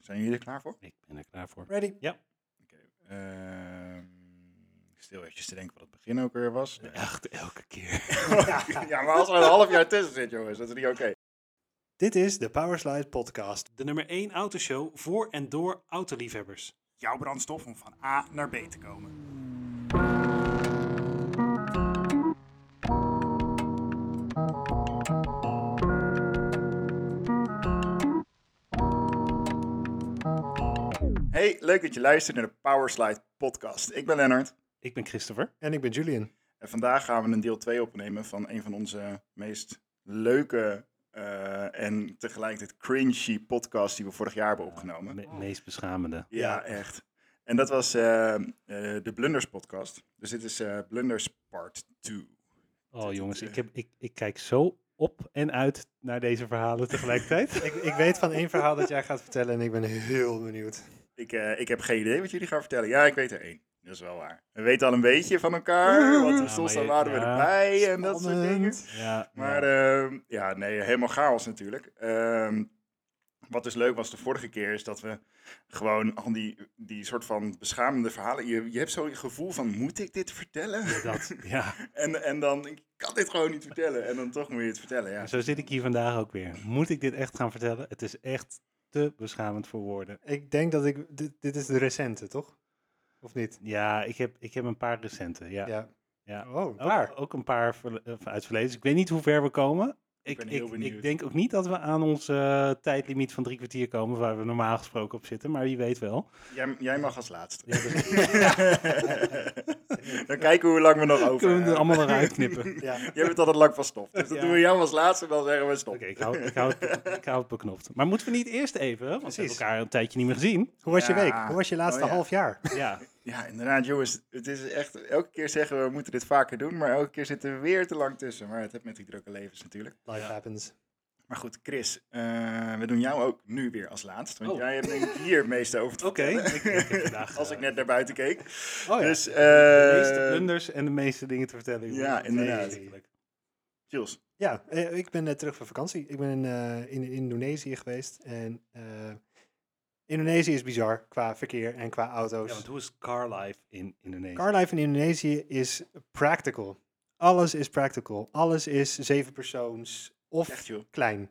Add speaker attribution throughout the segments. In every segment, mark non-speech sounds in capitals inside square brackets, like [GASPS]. Speaker 1: zijn jullie er klaar voor?
Speaker 2: Ik ben er klaar voor.
Speaker 3: Ready?
Speaker 1: Oké. ehm, stil eventjes te denken wat het begin ook weer was. Nee.
Speaker 2: Echt elke keer.
Speaker 1: [LAUGHS]
Speaker 2: [LAUGHS]
Speaker 1: ja, maar als er een half jaar tussen zit, jongens, dat is niet oké.
Speaker 3: Dit is de Powerslide podcast.
Speaker 2: De nummer 1 autoshow voor en door autoliefhebbers.
Speaker 1: Jouw brandstof om van A naar B te komen. Hey, leuk dat je luistert naar de Powerslide podcast. Ik ben Lennart.
Speaker 2: Ik ben Christopher.
Speaker 3: En ik ben Julian.
Speaker 1: En vandaag gaan we een deel 2 opnemen van een van onze meest leuke eh, en tegelijkertijd cringy podcasts die we vorig jaar hebben opgenomen.
Speaker 2: Me- meest beschamende.
Speaker 1: Oh. Ja, echt. En dat was eh, eh, de Blunders podcast. Dus dit is eh, Blunders part 2.
Speaker 2: Oh jongens,
Speaker 1: eh,
Speaker 2: ik, heb, ik, ik kijk zo op en uit naar deze
Speaker 1: [LAUGHS]
Speaker 2: verhalen tegelijkertijd.
Speaker 3: Ik, ik weet van één verhaal dat jij gaat vertellen en ik ben heel benieuwd.
Speaker 1: Ik, eh, ik heb geen idee wat jullie gaan vertellen. Ja, ik weet er één. Dat is wel waar. We weten al een beetje van
Speaker 2: [LAUGHS]
Speaker 1: elkaar, want
Speaker 2: Ja,
Speaker 1: soms
Speaker 2: maar
Speaker 1: dan
Speaker 2: je-
Speaker 1: waren we
Speaker 2: ja.
Speaker 1: erbij en dat soort dingen.
Speaker 2: Ja, nou,
Speaker 1: Maar ehm, ja, nee, helemaal chaos natuurlijk. Ehm, wat dus leuk was de vorige keer, is dat we gewoon al die, die soort van beschamende verhalen... Je, je hebt zo'n gevoel van, moet ik dit vertellen?
Speaker 2: dat, ja.
Speaker 1: [LAUGHS] En, en dan, ik kan dit gewoon niet vertellen. En dan toch moet je het vertellen, ja.
Speaker 2: En Zo zit ik hier vandaag ook weer. Moet ik dit echt gaan vertellen? Het is echt te beschamend voor woorden.
Speaker 3: Ik denk dat ik... Dit, dit is de recente, toch? Of niet?
Speaker 2: Ja, ik heb, ik heb een paar recente. Ja. Ja.
Speaker 3: Oh, waar?
Speaker 2: Ook, ook een paar verle- eh, uit het verleden. Dus ik weet niet hoe ver we komen. Ik,
Speaker 1: ben heel
Speaker 2: ik,
Speaker 1: benieuwd.
Speaker 2: ik denk ook niet dat we aan onze eh, tijdlimiet van drie kwartier komen, waar we normaal gesproken op zitten, maar wie weet wel.
Speaker 1: Jij, jij mag als laatste.
Speaker 2: Ja, dus
Speaker 1: [LAUGHS] dan kijken we hoe lang we nog over
Speaker 2: kunnen we
Speaker 1: hebben. [LAUGHS]
Speaker 2: er allemaal eruit knippen. Oké,
Speaker 3: Ja.
Speaker 1: Jij bent altijd lang van stof. Dus dat
Speaker 2: Ja.
Speaker 1: doen we jou als laatste en dan zeggen we stop.
Speaker 2: ik, hou, ik, hou het,
Speaker 1: [LAUGHS]
Speaker 2: ik hou het beknopt. Maar moeten we niet eerst even, want we
Speaker 3: Precies.
Speaker 2: hebben elkaar een tijdje niet meer gezien.
Speaker 3: Hoe was je
Speaker 1: Ja.
Speaker 3: week? Hoe was je laatste
Speaker 1: Oh, ja.
Speaker 3: half jaar?
Speaker 2: Ja,
Speaker 1: [LAUGHS] Ja, inderdaad, jongens. Het is echt, elke keer zeggen we, we moeten dit vaker doen. Maar elke keer zitten we weer te lang tussen. Maar het heeft met die drukke levens natuurlijk.
Speaker 3: Life
Speaker 2: Ja.
Speaker 3: happens.
Speaker 1: Maar goed, Chris, eh, we doen jou ook nu weer als laatst. Want
Speaker 2: Oh.
Speaker 1: jij hebt denk ik hier het meeste over te
Speaker 2: Oké,
Speaker 1: vertellen.
Speaker 2: ik- ik heb
Speaker 1: [LAUGHS]
Speaker 2: vandaag,
Speaker 1: als ik
Speaker 2: eh,
Speaker 1: net naar buiten keek.
Speaker 3: Oh ja.
Speaker 1: Dus,
Speaker 2: de meeste
Speaker 1: eh,
Speaker 2: blunders en de meeste dingen te vertellen. jongens.
Speaker 1: Ja, inderdaad.
Speaker 2: Nee.
Speaker 1: Jules,
Speaker 3: Ja, eh, ik ben net terug van vakantie. Ik ben in, eh, in Indonesië geweest. En eh, Indonesië is bizar qua verkeer en qua
Speaker 2: Ja,
Speaker 3: auto's.
Speaker 2: want hoe is carlife in Indonesië?
Speaker 3: Carlife in Indonesië is practical. Alles is practical. Alles is zeven persoons of
Speaker 1: echt joh. [LAUGHS]
Speaker 3: klein.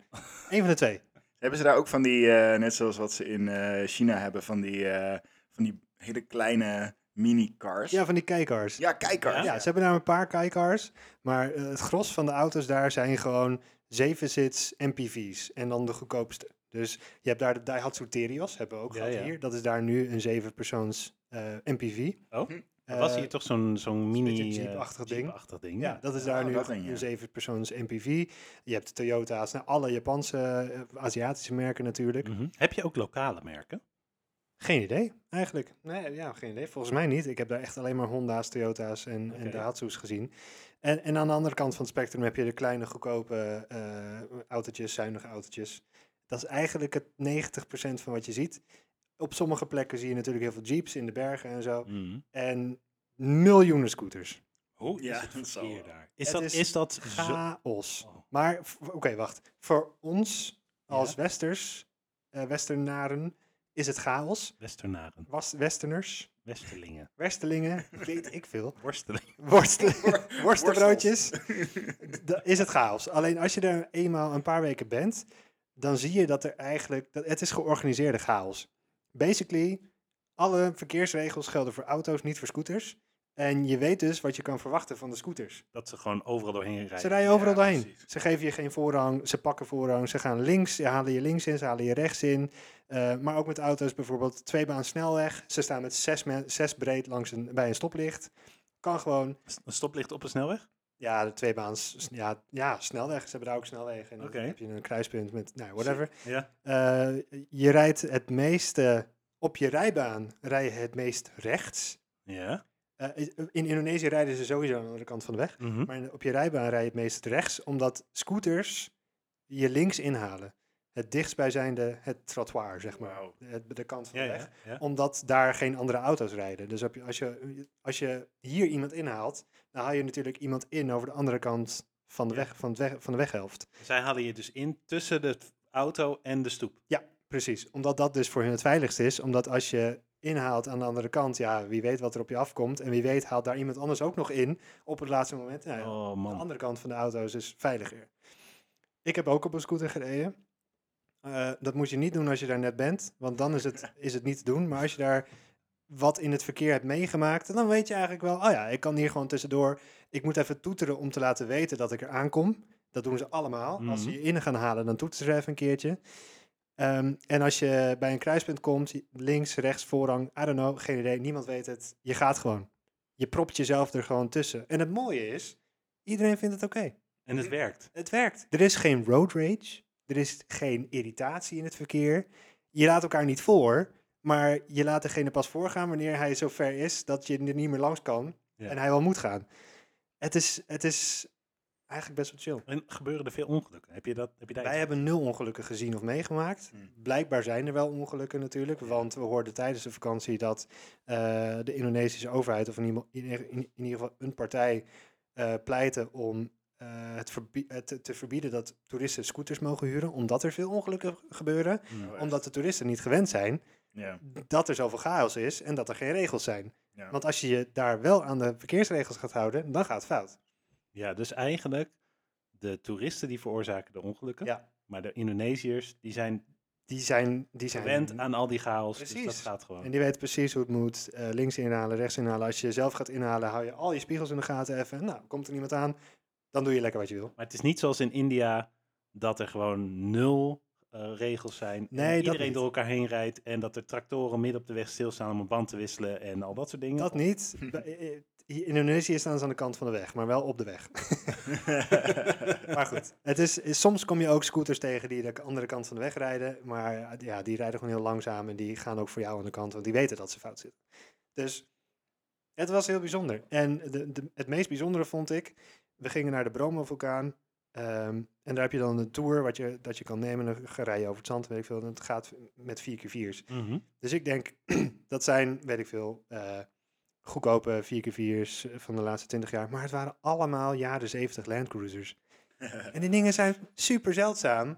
Speaker 3: Eén van de twee.
Speaker 1: Hebben ze daar ook van die, eh, net zoals wat ze in eh, China hebben, van die, eh, van die hele kleine mini-cars?
Speaker 3: Ja, van die kijkers.
Speaker 1: Ja, kijkers.
Speaker 3: Ja, ze hebben daar een paar kijkers. Maar eh, het gros van de auto's daar zijn gewoon zeven zits MPV's. En dan de goedkoopste. Dus je hebt daar de Daihatsu Terios, hebben we ook
Speaker 2: Ja,
Speaker 3: gehad
Speaker 2: ja.
Speaker 3: hier. Dat is daar nu een zeven persoons eh, MPV.
Speaker 2: Oh,
Speaker 1: Hm.
Speaker 2: er was
Speaker 3: Eh,
Speaker 2: hier toch zo'n zo'n mini...
Speaker 3: beetje Jeep-achtig
Speaker 2: eh,
Speaker 3: ding.
Speaker 2: Jeep-achtig ding.
Speaker 3: Ja, dat is daar
Speaker 1: Oh,
Speaker 3: nu
Speaker 1: dat
Speaker 3: een,
Speaker 1: ding, ja.
Speaker 3: zeven persoons MPV. Je hebt Toyota's, nou, alle Japanse, eh, Aziatische merken natuurlijk.
Speaker 2: Mhm. Heb je ook lokale merken?
Speaker 3: Geen idee, eigenlijk. Nee, ja, geen idee. Volgens mij niet. Ik heb daar echt alleen maar Honda's, Toyota's en,
Speaker 2: Oké.
Speaker 3: en Daihatsu's gezien. En, en aan de andere kant van het spectrum heb je de kleine, goedkope eh autootjes, zuinige autootjes. Dat is eigenlijk het 90% van wat je ziet. Op sommige plekken zie je natuurlijk heel veel jeeps in de bergen en
Speaker 2: Mm.
Speaker 3: zo.
Speaker 2: Mhm.
Speaker 3: En miljoenen scooters.
Speaker 2: Hoe is
Speaker 1: Ja,
Speaker 2: het
Speaker 1: dat zal
Speaker 2: verkeer
Speaker 1: wel.
Speaker 2: daar? Is
Speaker 3: Het
Speaker 2: dat,
Speaker 3: is
Speaker 2: is, dat zo...
Speaker 3: Chaos.
Speaker 2: Oh.
Speaker 3: Maar, v- oké, wacht. Voor ons als
Speaker 2: Ja.
Speaker 3: westers, eh, westernaren, is het chaos.
Speaker 2: Westernaren,
Speaker 3: Was, westerners,
Speaker 2: Westerlingen,
Speaker 3: westerlingen, weet ik veel.
Speaker 2: worstelingen.
Speaker 3: Worstelen, [LAUGHS] worstenbroodjes. da- is het chaos. Alleen als je er eenmaal een paar weken bent, dan zie je dat er eigenlijk, dat, het is georganiseerde chaos. Basically, alle verkeersregels gelden voor auto's, niet voor scooters. En je weet dus wat je kan verwachten van de scooters.
Speaker 2: Dat ze gewoon overal doorheen
Speaker 3: Ze
Speaker 2: rijden.
Speaker 3: rijden overal
Speaker 1: Ja,
Speaker 3: doorheen.
Speaker 1: precies.
Speaker 3: Ze geven je geen voorrang, ze pakken voorrang, ze gaan links, ze halen je links in, ze halen je rechts in. Eh, maar ook met auto's bijvoorbeeld tweebaan snelweg. Ze staan met zes, men- zes breed langs een, bij een stoplicht. Kan gewoon,
Speaker 2: S- Een stoplicht op een snelweg?
Speaker 3: ja, de tweebaans, s- ja, ja, snelweg. Ze hebben daar ook snelwegen. En dan
Speaker 2: Oké.
Speaker 3: heb je een kruispunt met, nou, whatever.
Speaker 2: Ja.
Speaker 3: Eh, je rijdt het meeste, op je rijbaan rij je het meest rechts.
Speaker 2: Ja.
Speaker 3: Eh, in Indonesië rijden ze sowieso aan de andere kant van de weg.
Speaker 2: Mhm.
Speaker 3: Maar op je rijbaan rij je het meest rechts, omdat scooters je links inhalen. Het dichtstbijzijnde, het trottoir, zeg maar.
Speaker 1: Wauw.
Speaker 3: Het, de kant van
Speaker 2: Ja,
Speaker 3: de weg.
Speaker 2: ja, ja.
Speaker 3: Omdat daar geen andere auto's rijden. Dus heb je, als, je, als je hier iemand inhaalt, dan haal je natuurlijk iemand in over de andere kant van de,
Speaker 2: Ja.
Speaker 3: weg, van het weg, van de weghelft.
Speaker 2: Zij halen je dus in tussen de auto en de stoep.
Speaker 3: Ja, Precies, omdat dat dus voor hun het veiligste is. Omdat als je inhaalt aan de andere kant, ja, wie weet wat er op je afkomt. En wie weet haalt daar iemand anders ook nog in op het laatste moment. Nou ja,
Speaker 2: Oh
Speaker 3: de
Speaker 2: man.
Speaker 3: andere kant van de auto is dus veiliger. Ik heb ook op een scooter gereden. Eh, dat moet je niet doen als je daar net bent, want dan is het, is het niet te doen. Maar als je daar wat in het verkeer hebt meegemaakt, dan weet je eigenlijk wel, oh ja, ik kan hier gewoon tussendoor. Ik moet even toeteren om te laten weten dat ik er aankom. Dat doen ze allemaal. Als ze
Speaker 2: Mhm.
Speaker 3: je in gaan halen, dan toeteren ze even een keertje. Ehm, en als je bij een kruispunt komt, links, rechts, voorrang, I don't know, geen idee, niemand weet het. Je gaat gewoon. Je propt jezelf er gewoon tussen. En het mooie is, iedereen vindt het oké.
Speaker 2: En het werkt.
Speaker 3: Het werkt. Er is geen road rage. Er is geen irritatie in het verkeer. Je laat elkaar niet voor, maar je laat degene pas voorgaan wanneer hij zo ver is dat je er niet meer langs kan
Speaker 2: Ja.
Speaker 3: en hij wel moet gaan. Het is, het is eigenlijk best wel chill.
Speaker 2: En gebeuren er veel ongelukken? Heb je, dat, heb je daar
Speaker 3: Wij hebben nul ongelukken gezien of meegemaakt.
Speaker 1: Hmm.
Speaker 3: Blijkbaar zijn er wel ongelukken natuurlijk, want we hoorden tijdens de vakantie dat eh, de Indonesische overheid, of in ieder, in, ieder- in ieder geval een partij, eh pleitte om eh, het verbie- eh, te, te verbieden dat toeristen scooters mogen huren, omdat er veel ongelukken gebeuren,
Speaker 2: Hmm.
Speaker 1: Oh, echt?
Speaker 3: omdat de toeristen niet gewend zijn
Speaker 1: Ja,
Speaker 3: dat er zoveel chaos is en dat er geen regels zijn.
Speaker 1: ja.
Speaker 3: Want als je je daar wel aan de verkeersregels gaat houden, dan gaat het fout.
Speaker 2: Ja, dus eigenlijk de toeristen die veroorzaken de ongelukken.
Speaker 3: Ja.
Speaker 2: Maar de Indonesiërs, die zijn
Speaker 3: Die zijn, die zijn
Speaker 2: gewend aan al die chaos. Dus dat
Speaker 3: Precies.
Speaker 2: gaat gewoon.
Speaker 3: En die weet precies hoe het moet. Eh, links inhalen, rechts inhalen. Als je zelf gaat inhalen, hou je al je spiegels in de gaten even. Nou, komt er niemand aan, dan doe je lekker wat je wil.
Speaker 2: Maar het is niet zoals in India dat er gewoon nul eh, regels zijn. en
Speaker 3: Nee, dat
Speaker 2: iedereen
Speaker 3: niet.
Speaker 2: door elkaar heen rijdt en dat er tractoren midden op de weg stilstaan om een band te wisselen en al dat soort dingen.
Speaker 3: Dat niet. Bij- eh, eh, In Indonesië staan ze aan de kant van de weg, maar wel op de weg. maar goed, het is, is- soms kom je ook scooters tegen die de andere kant van de weg rijden. Maar eh, ja, die rijden gewoon heel langzaam en die gaan ook voor jou aan de kant, want die weten dat ze fout zitten. Dus het was heel bijzonder. En de, de- het meest bijzondere vond ik, we gingen naar de Bromo-vulkaan. ehm, en daar heb je dan een tour wat je, dat je kan nemen. Dan ga je over het zand, weet ik veel. En het gaat met 4x4's.
Speaker 2: Mhm.
Speaker 3: Dus ik denk, [CLEARS THROAT] dat zijn, weet ik veel, eh, goedkope 4x4's eh, van de laatste 20 jaar. Maar het waren allemaal jaren 70 Landcruisers. En die dingen zijn super zeldzaam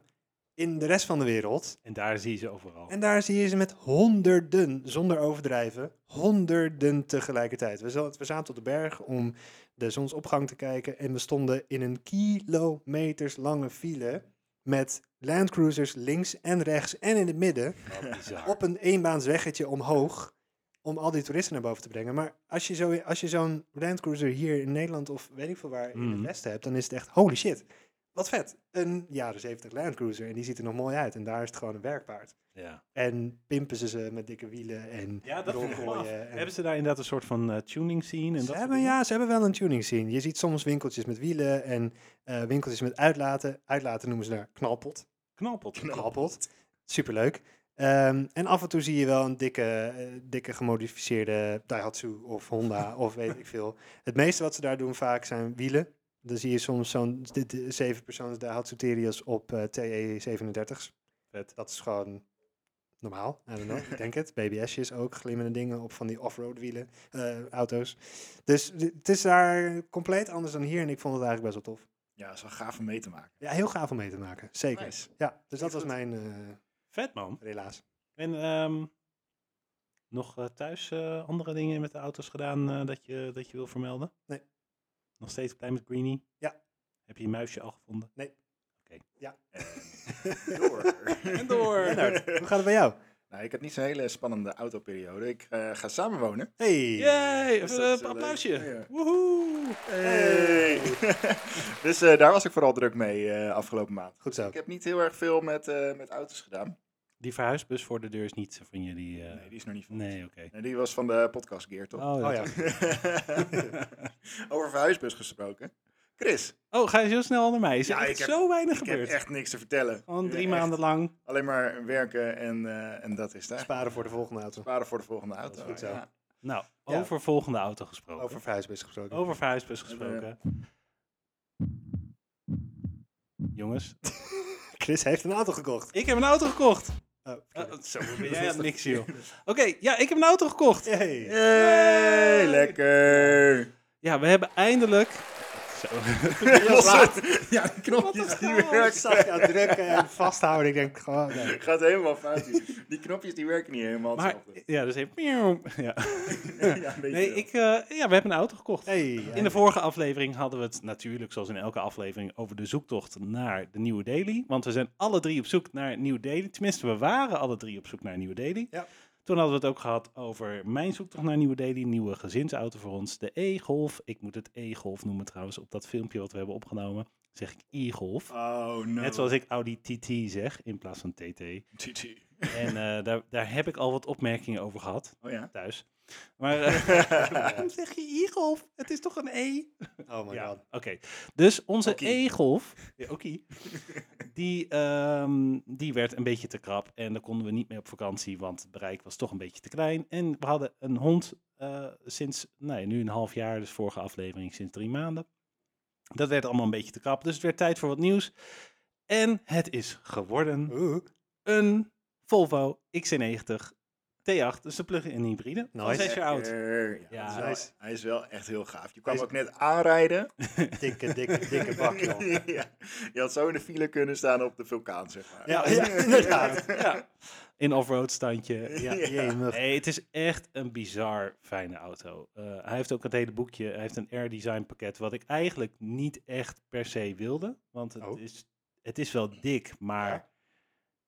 Speaker 3: in de rest van de wereld.
Speaker 2: En daar zie je ze overal.
Speaker 3: En daar zie je ze met honderden, zonder overdrijven, honderden tegelijkertijd. We zaten, we zaten op de berg om de zonsopgang te kijken en we stonden in een kilometers lange file met Landcruisers links en rechts en in het midden
Speaker 2: Wat
Speaker 3: [LAUGHS]
Speaker 2: bizar.
Speaker 3: op een eenbaansweggetje omhoog om al die toeristen naar boven te brengen. Maar als je, zo, als je zo'n Landcruiser hier in Nederland of weet ik veel waar in het
Speaker 2: Mhm.
Speaker 3: westen hebt, dan is het echt holy shit. Wat vet. Een jaren 70 Landcruiser en die ziet er nog mooi uit en daar is het gewoon een werkpaard.
Speaker 2: Ja.
Speaker 3: En pimpen ze ze met dikke wielen en
Speaker 2: Ja, dat vind ik wel af.
Speaker 3: rolgooien. en-
Speaker 2: Hebben ze daar inderdaad een soort van eh, tuning scene? En
Speaker 3: ze
Speaker 2: dat
Speaker 3: hebben, ja, ze hebben wel een tuning scene. Je ziet soms winkeltjes met wielen en eh, winkeltjes met uitlaten. Uitlaten noemen ze daar knalpot
Speaker 2: Knalpot.
Speaker 3: gehappeld. Superleuk. Ehm, en af en toe zie je wel een dikke, eh, dikke gemodificeerde Daihatsu of
Speaker 1: [LAUGHS]
Speaker 3: Honda of weet ik veel. Het meeste wat ze daar doen vaak zijn wielen. Dan zie je soms zo'n d- d- zeven persoons Daihatsu Terios op eh, TE37's.
Speaker 2: Vet.
Speaker 3: Dat is gewoon normaal. I don't
Speaker 1: [LAUGHS]
Speaker 3: know, ik denk het. BBS'jes ook, glimmende dingen op van die off-road wielen, eh, auto's. Dus d- het is daar compleet anders dan hier en ik vond het eigenlijk best wel tof.
Speaker 1: ja, is wel gaaf om mee te
Speaker 2: [LAUGHS]
Speaker 1: maken.
Speaker 3: Ja, heel gaaf om mee te maken, zeker.
Speaker 1: Nice.
Speaker 3: Ja, dus dat
Speaker 1: Klinkt
Speaker 3: was
Speaker 1: goed.
Speaker 3: mijn eh,
Speaker 2: Vet man.
Speaker 3: relaas.
Speaker 2: En ehm, nog eh, thuis eh, andere dingen met de auto's gedaan eh, dat, je, dat je wil vermelden?
Speaker 3: Nee.
Speaker 2: Nog steeds blij met Greenie?
Speaker 3: Ja.
Speaker 2: Heb je je muisje al gevonden?
Speaker 1: Door.
Speaker 2: En
Speaker 1: [LAUGHS]
Speaker 2: door.
Speaker 3: Lennart, hoe gaat het bij jou?
Speaker 1: nou, ik had niet zo'n hele spannende autoperiode. Ik eh, ga samenwonen.
Speaker 3: Hey!
Speaker 2: Yay!
Speaker 1: Dus dat is
Speaker 2: Even een
Speaker 1: wel leuk.
Speaker 2: applausje.
Speaker 1: Ja.
Speaker 2: Woehoe!
Speaker 1: Hey. [LAUGHS] dus eh, daar was ik vooral druk mee eh, afgelopen maand.
Speaker 3: Goed zo.
Speaker 1: Ik heb niet heel erg veel met, eh, met auto's gedaan.
Speaker 2: Die verhuisbus voor de deur is niet van jullie. eh,
Speaker 1: Nee, die is nog niet van ons.
Speaker 2: Nee, oké.
Speaker 1: Nee, die was van de podcast Gear, toch?
Speaker 2: Oh,
Speaker 3: Oh
Speaker 2: ja.
Speaker 3: ja.
Speaker 1: [LAUGHS] Over verhuisbus gesproken. Chris,
Speaker 2: oh, ga je zo snel onder mij? Is
Speaker 1: Ja,
Speaker 2: er echt
Speaker 1: ik heb-
Speaker 2: zo weinig
Speaker 1: ik heb
Speaker 2: gebeurd?
Speaker 1: echt niks te vertellen.
Speaker 2: Gewoon drie
Speaker 1: Echt
Speaker 2: maanden lang.
Speaker 1: Alleen maar werken en, eh, en dat is het. eigenlijk.
Speaker 3: Sparen voor de volgende auto.
Speaker 1: Sparen voor de volgende auto.
Speaker 3: goed zo.
Speaker 1: ja.
Speaker 2: Nou,
Speaker 3: Ja.
Speaker 2: over volgende auto gesproken.
Speaker 3: Over
Speaker 2: Over,
Speaker 3: verhuisbus gesproken.
Speaker 2: Oh. verhuisbus gesproken. Jongens,
Speaker 3: Chris heeft een auto gekocht.
Speaker 2: ik heb een auto
Speaker 1: [LAUGHS]
Speaker 2: gekocht.
Speaker 3: Oh,
Speaker 2: Eh,
Speaker 3: verkeerd.
Speaker 2: zo ben jij aan niks, joh. Oké, ja, ik heb een auto gekocht.
Speaker 3: Hey.
Speaker 1: Hey, lekker!
Speaker 2: Ja, we hebben eindelijk Zo.
Speaker 1: [LAUGHS] Los
Speaker 3: laat.
Speaker 1: het. Ja, [LAUGHS] die knopjes die
Speaker 3: [LAUGHS] Ik
Speaker 1: werken.
Speaker 3: zag jou drukken en vasthouden. Ik denk, gewoon, nee.
Speaker 1: Gaat helemaal fout. hier. Die knopjes die werken niet helemaal
Speaker 2: Maar,
Speaker 1: hetzelfde. [LAUGHS]
Speaker 2: ja, dus even... miauw. Ja.
Speaker 1: Ja, een beetje
Speaker 2: Nee,
Speaker 1: wel.
Speaker 2: ik, eh, ja, we hebben een auto gekocht.
Speaker 3: Hey,
Speaker 2: In de vorige aflevering hadden we het natuurlijk, zoals in elke aflevering, over de zoektocht naar de nieuwe Daily. Want we zijn alle drie op zoek naar een nieuwe Daily. Tenminste, we waren alle drie op zoek naar een nieuwe Daily.
Speaker 3: Ja.
Speaker 2: Toen hadden we het ook gehad over mijn zoektocht naar een nieuwe Daily, een nieuwe gezinsauto voor ons, de E-Golf. Ik moet het E-Golf noemen trouwens, op dat filmpje wat we hebben opgenomen zeg ik E-Golf.
Speaker 1: Oh, no.
Speaker 2: Net zoals ik Audi TT zeg, in plaats van
Speaker 1: [LAUGHS]
Speaker 2: TT. En
Speaker 1: TT.
Speaker 2: eh, daar, daar heb ik al wat opmerkingen over gehad
Speaker 1: Oh ja.
Speaker 2: thuis. Maar eh, [LAUGHS] waarom zeg je E-Golf? Het is toch een E?
Speaker 3: Oh my
Speaker 2: Ja,
Speaker 3: god.
Speaker 2: oké. Dus onze
Speaker 1: Okie.
Speaker 2: E-golf, ja, okie, [LAUGHS] die, ehm, die werd een beetje te krap. En daar konden we niet mee op vakantie, want het bereik was toch een beetje te klein. En we hadden een hond eh, sinds, nee, nu een half jaar, dus vorige aflevering sinds drie maanden. Dat werd allemaal een beetje te krap, dus het werd tijd voor wat nieuws. En het is geworden
Speaker 3: Oeh,
Speaker 2: een Volvo XC90 T8, dus de plug-in hybride, van [LAUGHS]
Speaker 3: Nice.
Speaker 2: zes jaar oud.
Speaker 1: Lekker.
Speaker 2: Ja,
Speaker 1: dat is wel-
Speaker 3: nice.
Speaker 1: Hij is wel echt heel gaaf. Je kwam
Speaker 3: Hij is-
Speaker 1: ook net
Speaker 2: [LAUGHS]
Speaker 1: aanrijden.
Speaker 3: dikke, dikke, dikke bak, joh.
Speaker 1: [LAUGHS] ja. Je had zo in de file kunnen staan op de vulkaan, zeg maar.
Speaker 2: [LAUGHS]
Speaker 3: Ja, ja, [LAUGHS] inderdaad.
Speaker 2: Ja. In offroad standje. Ja.
Speaker 3: Jemig.
Speaker 2: Nee, het is echt een bizar fijne auto. Eh, hij heeft ook het hele boekje. Hij heeft een Air Design pakket, wat ik eigenlijk niet echt per se wilde. Want het,
Speaker 3: Oh.
Speaker 2: is, het is wel dik, maar
Speaker 3: Ja.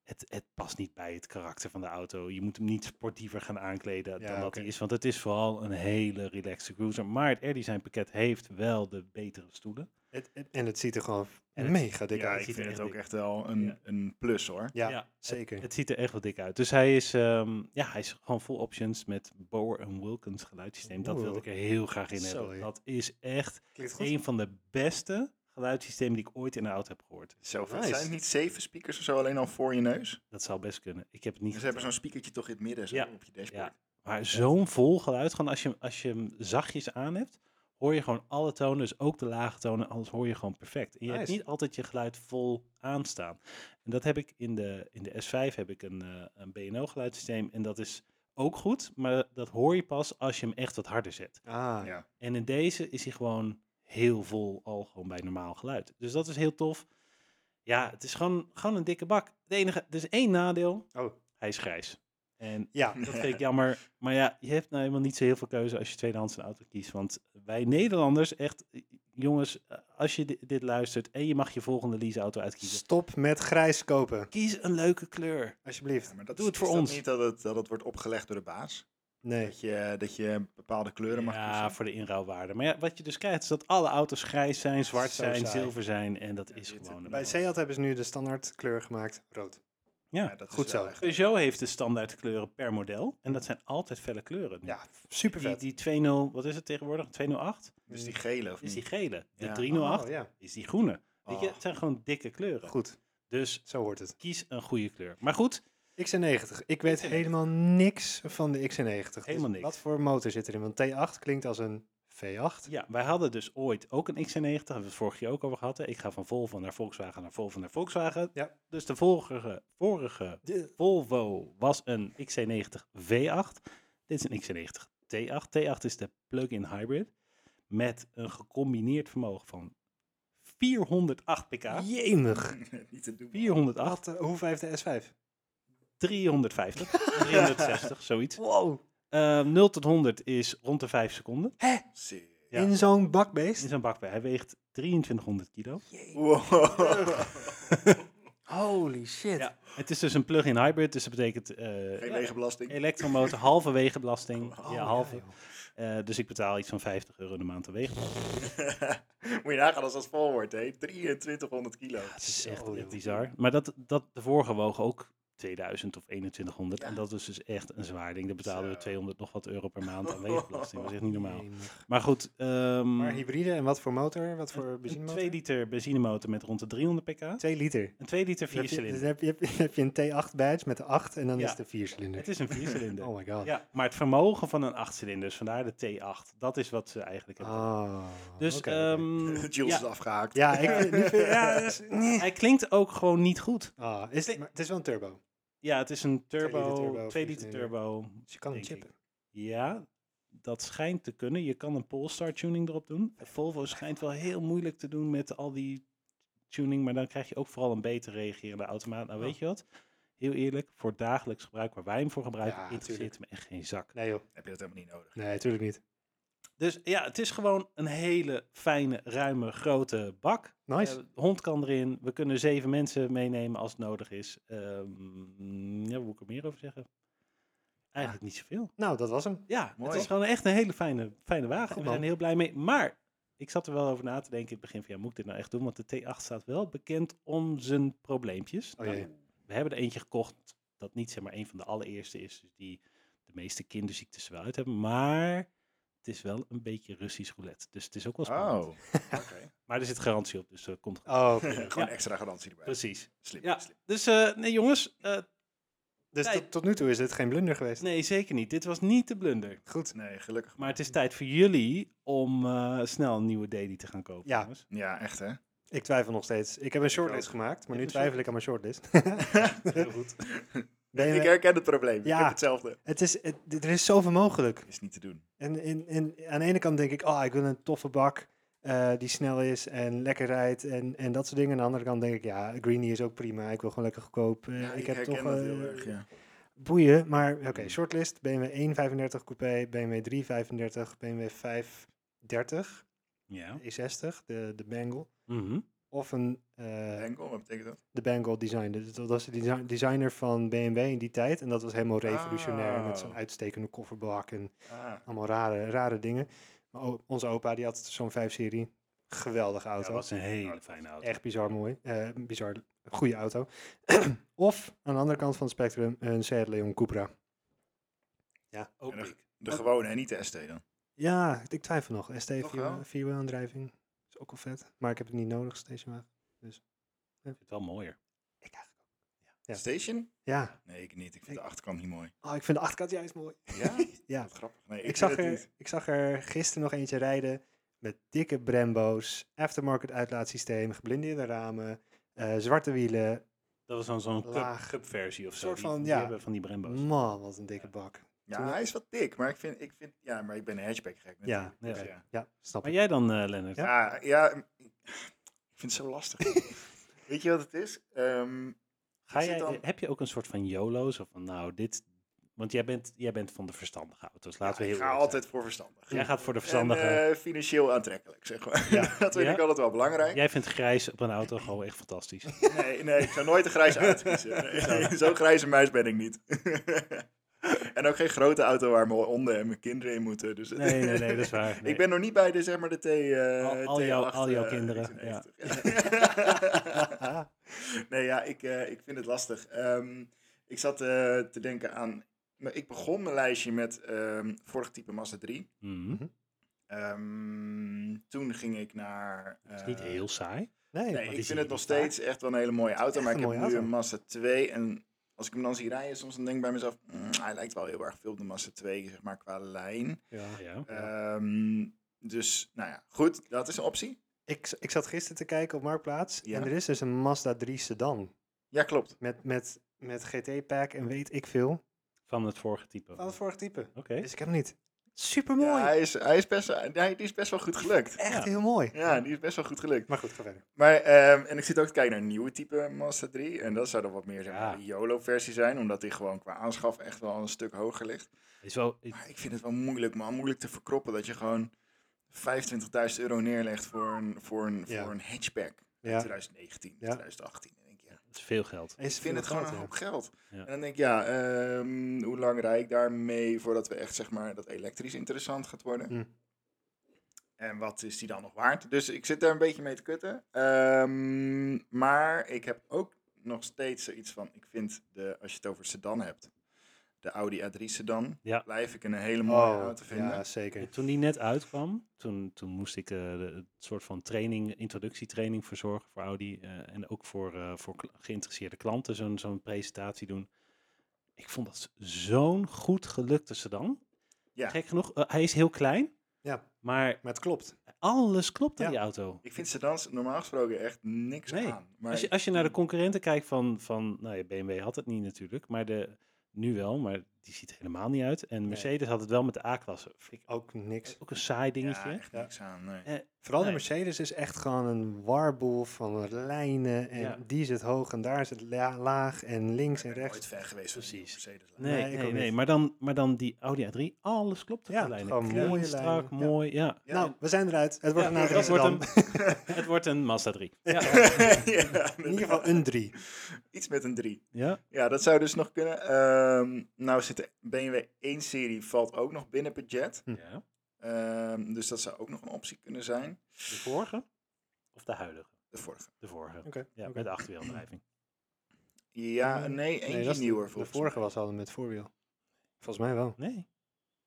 Speaker 2: het, het past niet bij het karakter van de auto. Je moet hem niet sportiever gaan aankleden
Speaker 3: Ja,
Speaker 2: dan dat
Speaker 3: oké.
Speaker 2: hij is. Want het is vooral een hele relaxed cruiser. Maar het Air Design pakket heeft wel de betere stoelen.
Speaker 3: Het- het- En het ziet er gewoon
Speaker 2: En het-
Speaker 3: mega dik
Speaker 1: Ja,
Speaker 3: uit.
Speaker 1: ik
Speaker 2: ziet er
Speaker 1: vind
Speaker 2: echt
Speaker 1: het ook
Speaker 2: dik.
Speaker 1: echt wel een,
Speaker 2: Ja.
Speaker 1: een plus, hoor.
Speaker 3: Ja,
Speaker 2: Ja,
Speaker 3: zeker.
Speaker 2: Het ziet er echt wel dik uit. Dus hij is, ehm, ja, hij is gewoon full options met Bower en Wilkins geluidssysteem. Dat wilde ik er heel graag in hebben.
Speaker 3: Sorry.
Speaker 2: Dat is echt
Speaker 3: Klinkt
Speaker 2: een van de beste geluidssystemen die ik ooit in een auto heb gehoord.
Speaker 1: Zoveel.
Speaker 3: Nice.
Speaker 1: Zijn het niet zeven speakers of zo alleen al voor je neus?
Speaker 2: Dat zou best kunnen. Ik heb het
Speaker 3: Dus
Speaker 2: niet
Speaker 1: Ze hebben zo'n
Speaker 2: gedaan.
Speaker 1: speakertje toch in het midden zo,
Speaker 2: Ja.
Speaker 1: op je dashboard.
Speaker 2: Maar zo'n vol geluid, gewoon als je, hem- als je hem zachtjes aan hebt, hoor je gewoon alle tonen, dus ook de lage tonen, alles hoor je gewoon perfect. En je hebt
Speaker 3: Nice.
Speaker 2: niet altijd je geluid vol aanstaan. En dat heb ik in de, in de S5 heb ik een, eh, een BNO geluidssysteem en dat is ook goed, maar dat hoor je pas als je hem echt wat harder zet.
Speaker 3: Ah,
Speaker 1: Ja.
Speaker 2: En in deze is hij gewoon heel vol al gewoon bij normaal geluid. Dus dat is heel tof. Ja, het is gewoon, gewoon een dikke bak. Het enige, er is één nadeel.
Speaker 3: Oh.
Speaker 2: Hij is grijs. En
Speaker 3: ja.
Speaker 2: [LAUGHS] dat vind ik jammer. Maar ja, je hebt nou helemaal niet zo heel veel keuze als je tweedehands een auto kiest. Want wij Nederlanders, echt, jongens, als je di- dit luistert en je mag je volgende leaseauto uitkiezen,
Speaker 3: Stop met grijs kopen,
Speaker 2: kies een leuke kleur.
Speaker 3: alsjeblieft.
Speaker 1: [LAUGHS] Ja, maar dat
Speaker 2: Doe
Speaker 1: is-
Speaker 2: het voor
Speaker 1: is dat
Speaker 2: ons.
Speaker 1: niet dat het, dat het wordt opgelegd door de baas?
Speaker 3: Nee.
Speaker 1: Dat je, dat je bepaalde kleuren mag
Speaker 2: Ja,
Speaker 1: kiezen?
Speaker 2: voor de inruilwaarde. Maar ja, wat je dus krijgt is dat alle auto's grijs zijn, zwart
Speaker 3: Zo
Speaker 2: zijn,
Speaker 3: saai.
Speaker 2: zilver zijn. En dat
Speaker 1: Ja,
Speaker 2: is
Speaker 1: dit-
Speaker 2: gewoon... een
Speaker 3: Bij
Speaker 2: ramp.
Speaker 3: Seat hebben ze nu de standaard kleur gemaakt, rood.
Speaker 2: Ja.
Speaker 1: Ja, dat is
Speaker 3: Goed
Speaker 1: wel
Speaker 3: zo.
Speaker 1: echt-
Speaker 2: Peugeot heeft de standaard kleuren per model. En dat zijn altijd felle kleuren.
Speaker 3: Ja, super
Speaker 2: Die,
Speaker 3: vet.
Speaker 2: die 2.0, wat is het tegenwoordig? 208?
Speaker 1: Dus die gele of
Speaker 2: Is die
Speaker 1: niet?
Speaker 2: gele. De
Speaker 1: Ja.
Speaker 2: 308
Speaker 3: Oh, ja.
Speaker 2: is die groene. Weet je,
Speaker 1: Oh.
Speaker 2: het zijn gewoon dikke kleuren.
Speaker 3: Goed,
Speaker 2: Dus
Speaker 3: zo hoort het.
Speaker 2: kies een goede kleur. Maar goed,
Speaker 3: XC90. Ik weet
Speaker 2: XC90.
Speaker 3: helemaal niks van de XC90. Dus
Speaker 2: Helemaal niks.
Speaker 3: Wat voor motor zit erin? Want T8 klinkt als een V8.
Speaker 2: ja, wij hadden dus ooit ook een XC90. Daar hebben we het vorig jaar ook over gehad. hè. Ik ga van Volvo naar Volkswagen naar Volvo naar Volkswagen.
Speaker 3: Ja.
Speaker 2: Dus de vorige, vorige
Speaker 3: De-
Speaker 2: Volvo was een XC90 V8. Dit is een XC90 T8. T8 is de plug-in hybrid met een gecombineerd vermogen van 408 pk.
Speaker 3: Jemig.
Speaker 1: niet [LAUGHS] te doen.
Speaker 2: 408,
Speaker 3: Wat, eh, hoeveel heeft de S5?
Speaker 2: 350, 360, zoiets.
Speaker 3: Wow.
Speaker 2: Eh, 0 tot 100 is rond de 5 seconden.
Speaker 1: Zie-
Speaker 2: Ja.
Speaker 3: In zo'n bakbeest?
Speaker 2: In zo'n bakbij. Hij weegt 2300 kilo.
Speaker 1: Wow.
Speaker 3: Holy [LAUGHS] shit.
Speaker 2: Ja, het is dus een plug-in hybrid, dus dat betekent eh,
Speaker 1: Geen
Speaker 2: ja,
Speaker 1: wegenbelasting.
Speaker 2: elektromotor, halve wegenbelasting.
Speaker 1: Oh,
Speaker 2: ja,
Speaker 3: ja,
Speaker 2: halve.
Speaker 3: joh.
Speaker 2: Eh, dus ik betaal iets van 50 euro de maand aan wegenbelasting.
Speaker 1: [LAUGHS] Moet je nagaan als dat vol wordt, hè? 2300 kilo.
Speaker 2: Het is
Speaker 3: Zo,
Speaker 2: echt,
Speaker 3: joh.
Speaker 2: echt bizar. Maar dat, dat, de vorige woog ook 2000 of 2100.
Speaker 1: Ja.
Speaker 2: En dat is dus echt een zwaar ding. Daar betaalden we
Speaker 1: Zo. Oh,
Speaker 2: 200 nog wat euro per maand
Speaker 1: [LAUGHS]
Speaker 2: aan wegenbelasting. Dat is echt niet normaal.
Speaker 3: Jemig.
Speaker 2: Maar goed, ehm,
Speaker 3: Maar hybride en wat voor motor? Wat voor
Speaker 2: een
Speaker 3: benzinemotor?
Speaker 2: 2 liter benzinemotor met rond de 300 pk.
Speaker 3: Twee liter.
Speaker 2: Een 2 liter
Speaker 3: Dan heb je-
Speaker 2: 4-cilinder.
Speaker 3: Dan heb je, dan heb je een T8 badge met de 8 en dan
Speaker 2: Ja.
Speaker 3: is de 4 cilinder.
Speaker 2: Het is een 4-cilinder.
Speaker 3: Oh my god.
Speaker 2: Ja, maar het vermogen van een 8-cilinder, dus vandaar de T8. Dat is wat ze eigenlijk hebben.
Speaker 3: Ah,
Speaker 2: Dus
Speaker 3: oké, oké.
Speaker 2: ehm,
Speaker 3: [LAUGHS]
Speaker 1: [LAUGHS] Jules
Speaker 2: ja,
Speaker 1: is afgehaakt.
Speaker 3: Ja, [LAUGHS] ik vind- nu vind- ja, dus- nee.
Speaker 2: hij klinkt ook gewoon niet goed.
Speaker 3: Ah, is het, maar het is wel een turbo.
Speaker 2: Ja, het is een
Speaker 3: liter
Speaker 2: turbo,
Speaker 3: turbo,
Speaker 2: 2 liter
Speaker 3: viercilinder.
Speaker 2: turbo.
Speaker 3: Dus je kan hem
Speaker 2: Denk ik.
Speaker 3: chippen.
Speaker 2: Ja, dat schijnt te kunnen. Je kan een Polestar tuning erop doen. Volvo schijnt wel heel moeilijk te doen met al die tuning, maar dan krijg je ook vooral een beter reagerende automaat. Nou,
Speaker 3: Oh.
Speaker 2: weet je wat? Heel eerlijk, voor dagelijks gebruik waar wij hem voor gebruiken,
Speaker 3: Ja,
Speaker 2: interesseert me echt geen zak.
Speaker 3: Nee joh,
Speaker 1: Heb je dat helemaal niet nodig?
Speaker 3: nee, natuurlijk niet.
Speaker 2: Dus ja, het is gewoon een hele fijne, ruime, grote bak.
Speaker 3: Nice.
Speaker 2: Eh, hond kan erin. We kunnen zeven mensen meenemen als het nodig is. Ehm ja, wat moet ik er meer over zeggen? Eigenlijk niet zoveel.
Speaker 3: nou, dat was hem.
Speaker 2: Ja,
Speaker 1: Mooi.
Speaker 2: het is gewoon echt een hele fijne, fijne
Speaker 3: Goed,
Speaker 2: wagen. We
Speaker 3: man.
Speaker 2: zijn er heel blij mee. Maar ik zat er wel over na te denken in het begin van, ja, moet ik dit nou echt doen? Want de T8 staat wel bekend om zijn probleempjes.
Speaker 3: Oh,
Speaker 2: Nou,
Speaker 3: jee.
Speaker 2: we hebben er eentje gekocht dat niet zeg maar een van de allereerste is. Dus die de meeste kinderziektes er wel uit hebben. Maar het is wel een beetje Russisch roulette. Dus het is ook wel spannend.
Speaker 1: Oh, oké.
Speaker 2: Maar er zit garantie op, dus dat komt goed.
Speaker 3: Oh,
Speaker 1: [LAUGHS]
Speaker 3: oké.
Speaker 1: Gewoon
Speaker 2: Ja.
Speaker 1: extra garantie erbij.
Speaker 2: Precies.
Speaker 1: Slim,
Speaker 2: Ja,
Speaker 1: slim.
Speaker 2: dus eh, nee jongens, eh,
Speaker 3: dus
Speaker 2: Nee.
Speaker 3: tot, tot nu toe is dit geen blunder geweest.
Speaker 2: nee zeker niet. Dit was niet de blunder.
Speaker 3: Goed.
Speaker 1: Nee, gelukkig.
Speaker 2: Maar het is tijd voor jullie om eh, snel een nieuwe daily te gaan kopen.
Speaker 3: Ja.
Speaker 2: jongens.
Speaker 1: Ja, echt hè?
Speaker 3: Ik twijfel nog steeds. Ik heb een shortlist
Speaker 1: ook.
Speaker 3: gemaakt, maar
Speaker 2: Je
Speaker 3: nu
Speaker 2: hebt een
Speaker 3: twijfel ik aan mijn shortlist.
Speaker 1: [LAUGHS]
Speaker 3: [LAUGHS]
Speaker 2: Heel goed.
Speaker 3: Nee,
Speaker 1: Ik
Speaker 3: maar
Speaker 1: herken het probleem.
Speaker 3: Ja.
Speaker 1: Ik heb hetzelfde.
Speaker 3: het is, het- er is zoveel mogelijk.
Speaker 1: Is niet te doen.
Speaker 3: En, en, en aan de ene kant denk ik, oh, ik wil een toffe bak eh, die snel is en lekker rijdt en, en dat soort dingen. Aan de andere kant denk ik, ja, Greenie is ook prima. Ik wil gewoon lekker goedkoop. Eh,
Speaker 1: Ja, ik,
Speaker 3: heb
Speaker 1: herken
Speaker 3: toch
Speaker 1: dat
Speaker 3: eh,
Speaker 1: heel erg, ja. Mm.
Speaker 3: boeien. Maar oké, shortlist, BMW 135 coupé, BMW 335, BMW 530,
Speaker 2: Ja.
Speaker 3: E60, E de, de Bengal.
Speaker 2: Mhm.
Speaker 3: Of een, eh,
Speaker 1: Henkel, wat betekent dat?
Speaker 3: de Bengal design. Dus Dat was de desi- designer van BMW in die tijd. En dat was helemaal revolutionair met zo'n
Speaker 1: Oh.
Speaker 3: uitstekende kofferbak en
Speaker 1: Ah,
Speaker 3: allemaal rare, rare dingen. Maar o- onze opa die had zo'n 5-serie. Geweldige
Speaker 2: Ja, dat
Speaker 3: auto.
Speaker 2: was een hele fijne auto.
Speaker 3: Echt bizar mooi. Eh, bizar goede auto. [CLEARS THROAT] of aan de andere kant van het spectrum een Seat Leon Cupra.
Speaker 2: Ook
Speaker 1: erg.
Speaker 2: dik.
Speaker 1: de gewone en niet de ST dan.
Speaker 3: Ja, ik twijfel nog. ST
Speaker 1: Toch wel?
Speaker 3: vierwielaandrijving. Is ook wel vet. Maar ik heb het niet nodig, stationwagen.
Speaker 2: Ik vind het wel mooier.
Speaker 3: Ik eigenlijk. Ja.
Speaker 1: Station?
Speaker 3: Ja.
Speaker 1: Nee, ik niet. Ik vind de achterkant niet mooi.
Speaker 3: Oh, ik vind de achterkant juist mooi.
Speaker 2: [LAUGHS]
Speaker 1: Ja?
Speaker 3: Ja.
Speaker 1: Wat grappig. Nee, ik,
Speaker 3: Ik
Speaker 1: vind
Speaker 3: zag,
Speaker 1: het
Speaker 3: er,
Speaker 1: niet.
Speaker 3: ik zag er gisteren nog eentje rijden met dikke Brembo's, aftermarket uitlaatsysteem, geblindeerde ramen, eh, zwarte wielen.
Speaker 2: Dat was dan zo'n cup,
Speaker 3: Laag.
Speaker 2: cup versie of zo.
Speaker 3: Soort
Speaker 2: die-
Speaker 3: van,
Speaker 2: die
Speaker 3: ja.
Speaker 2: hebben van die Brembo's.
Speaker 1: Mm.
Speaker 3: Man, wat een dikke bak.
Speaker 1: Ja,
Speaker 3: Toen-
Speaker 1: hij is wat dik, maar ik vind, ik vind, ja, maar ik ben een hatchback gek.
Speaker 3: Ja,
Speaker 1: natuurlijk,
Speaker 2: ja.
Speaker 1: dus ja.
Speaker 3: Ja, snap
Speaker 2: Maar
Speaker 3: ik.
Speaker 2: jij dan, eh Lennart?
Speaker 1: Ja, ja, m- ik vind het zo lastig.
Speaker 2: [LAUGHS]
Speaker 1: Weet je wat het is? Ehm,
Speaker 2: Ga
Speaker 1: ik zit
Speaker 2: jij,
Speaker 1: dan-
Speaker 2: Heb je ook een soort van YOLO? Zo van, nou, dit... Want jij bent, jij bent van de verstandige auto's. Laten we
Speaker 1: ik
Speaker 2: heel
Speaker 1: ga
Speaker 2: eerlijk
Speaker 1: altijd voor verstandig.
Speaker 2: zijn. Jij gaat voor de
Speaker 1: En
Speaker 2: verstandige.
Speaker 1: eh, financieel aantrekkelijk, zeg maar.
Speaker 3: Ja.
Speaker 1: [LAUGHS] dat vind
Speaker 2: Ja.
Speaker 1: ik altijd wel belangrijk.
Speaker 2: jij vindt grijs op een auto gewoon echt
Speaker 1: [LAUGHS]
Speaker 2: fantastisch.
Speaker 1: Nee, nee, ik zou nooit een grijze auto
Speaker 2: [LAUGHS]
Speaker 1: kiezen. Nee, [LAUGHS] Zo'n grijze muis ben ik niet. [LAUGHS] en ook geen grote auto waar mijn honden en mijn kinderen in moeten. Dus
Speaker 2: Nee, nee,
Speaker 1: [LAUGHS]
Speaker 2: nee, dat is waar. Nee.
Speaker 1: Ik ben nog niet bij de, zeg maar, de T, eh,
Speaker 2: Al- al jouw-
Speaker 1: T8,
Speaker 2: al jouw
Speaker 1: eh,
Speaker 2: kinderen,
Speaker 1: 96. [LAUGHS] nee, ja, ik, eh, ik vind het lastig. Ehm, ik zat eh, te denken aan... maar Ik begon mijn lijstje met ehm vorig type Mazda 3.
Speaker 2: Mhm.
Speaker 1: Ehm, toen ging ik naar...
Speaker 2: Dat is niet
Speaker 1: eh,
Speaker 2: heel saai.
Speaker 3: Nee,
Speaker 1: Nee,
Speaker 2: die
Speaker 3: maar
Speaker 1: ik
Speaker 2: zie
Speaker 1: vind
Speaker 2: je
Speaker 1: het nog
Speaker 2: niet vaak.
Speaker 1: steeds echt wel een hele mooie auto.
Speaker 3: Echt
Speaker 1: maar ik
Speaker 3: een
Speaker 1: heb nu
Speaker 3: mooie auto.
Speaker 1: een Mazda 2. En als ik hem dan zie rijden, soms dan denk ik bij mezelf... "Mm, hij lijkt wel heel erg veel op de Mazda 2, zeg maar, qua lijn.
Speaker 3: ja. Eh,
Speaker 2: Ja.
Speaker 1: Ehm, dus, nou ja, goed. Dat is een optie.
Speaker 3: ik, z- ik zat gisteren te kijken op Marktplaats
Speaker 1: Ja.
Speaker 3: en er is dus een Mazda 3 sedan
Speaker 1: Ja, klopt.
Speaker 3: met, met, met GT-pack en weet ik veel.
Speaker 2: Van het vorige type.
Speaker 3: Van het vorige type.
Speaker 2: Oké.
Speaker 3: Dus ik heb hem niet. Supermooi.
Speaker 1: Ja, hij, is, hij, is best, hij die is best wel goed gelukt.
Speaker 3: Echt
Speaker 2: Ja.
Speaker 3: heel mooi.
Speaker 1: Ja, die is best wel goed gelukt.
Speaker 3: Maar goed, ga verder.
Speaker 1: Maar, ehm, en ik zit ook te kijken naar een nieuwe type Mazda 3. En dat zou dan wat meer zeg
Speaker 2: Ja.
Speaker 1: maar, de YOLO-versie zijn. Omdat die gewoon qua aanschaf echt wel een stuk hoger ligt.
Speaker 2: Is wel,
Speaker 1: Maar ik vind het wel moeilijk, man. Moeilijk te verkroppen dat je gewoon 25.000 euro neerlegt voor een, voor een,
Speaker 3: Ja.
Speaker 1: voor een hatchback. in
Speaker 3: Ja.
Speaker 1: 2019,
Speaker 3: Ja.
Speaker 1: 2018. Dan denk ik, ja,
Speaker 2: dat is veel geld.
Speaker 1: ik vind het gewoon een hoop geld.
Speaker 2: Ja.
Speaker 1: En dan denk ik, ja, ehm, hoe lang rijd ik daarmee voordat we echt, zeg maar, dat elektrisch interessant gaat worden?
Speaker 3: Hm.
Speaker 1: En wat is die dan nog waard? Dus ik zit daar een beetje mee te kutten. Ehm, maar ik heb ook nog steeds zoiets van, ik vind, de, als je het over sedan hebt, de Audi A3 sedan,
Speaker 2: Ja.
Speaker 1: blijf ik een hele mooie
Speaker 3: Oh,
Speaker 1: auto vinden.
Speaker 3: ja, zeker.
Speaker 2: Eh, Toen die net uitkwam, toen, toen moest ik eh, de- een soort van training, introductietraining verzorgen voor Audi. eh, en ook voor, eh, voor kla- geïnteresseerde klanten zo'n zo'n presentatie doen. Ik vond dat zo'n goed gelukte sedan.
Speaker 1: Ja.
Speaker 2: Gek genoeg, eh, hij is heel klein,
Speaker 3: Ja,
Speaker 2: maar
Speaker 3: maar het klopt.
Speaker 2: alles klopt aan
Speaker 3: Ja.
Speaker 2: die auto.
Speaker 1: Ik vind sedans normaal gesproken echt niks
Speaker 2: Nee.
Speaker 1: aan. Maar
Speaker 2: Als je, als je naar de concurrenten kijkt van, van nou ja, BMW had het niet natuurlijk, maar de, nu wel, maar die ziet er helemaal niet uit. En Mercedes had het wel met de A-klasse. Vind ik
Speaker 3: Ook niks.
Speaker 2: ook een saai dingetje.
Speaker 1: Ja, echt
Speaker 3: Ja.
Speaker 1: niks aan. Nee.
Speaker 2: Eh,
Speaker 3: Vooral
Speaker 2: Nee.
Speaker 3: de Mercedes is echt gewoon een warboel van lijnen. En
Speaker 2: Ja.
Speaker 3: die zit hoog en daar zit la- laag en links en
Speaker 1: Ik ben nooit
Speaker 3: rechts. Nou,
Speaker 1: fan geweest van die
Speaker 2: Precies.
Speaker 1: Mercedes.
Speaker 2: nee,
Speaker 3: Nee, ik
Speaker 2: nee,
Speaker 3: ook
Speaker 2: nee,
Speaker 3: niet.
Speaker 2: maar, dan, maar dan die Audi A3, alles klopt op
Speaker 3: Ja,
Speaker 2: de lijnen.
Speaker 3: gewoon
Speaker 2: Klein,
Speaker 3: mooie
Speaker 2: strak,
Speaker 3: lijnen, ja.
Speaker 2: mooi, ja.
Speaker 3: [LAUGHS]
Speaker 1: Ja.
Speaker 3: Nou, we zijn eruit. Het wordt
Speaker 2: Ja,
Speaker 3: een
Speaker 2: het, wordt
Speaker 3: Amsterdam.
Speaker 2: een, het wordt een Mazda 3. Ja,
Speaker 1: [LAUGHS] ja,
Speaker 3: [LAUGHS] In ieder geval een drie.
Speaker 1: Iets met een 3.
Speaker 2: ja.
Speaker 1: Ja, dat zou dus nog kunnen. Ehm, nou zit de BMW 1-serie valt ook nog binnen budget.
Speaker 2: ja.
Speaker 1: Ehm, dus dat zou ook nog een optie kunnen zijn.
Speaker 2: De vorige of de huidige?
Speaker 1: De vorige.
Speaker 2: De vorige.
Speaker 3: Oké.
Speaker 2: Ja,
Speaker 3: oké.
Speaker 2: met de achterwielaandrijving.
Speaker 1: Ja,
Speaker 3: Mm,
Speaker 1: nee, eentje
Speaker 3: dat is de-
Speaker 1: nieuwer
Speaker 3: De
Speaker 1: volgens mij.
Speaker 3: vorige was al met voorwiel. Volgens mij wel.
Speaker 2: Nee.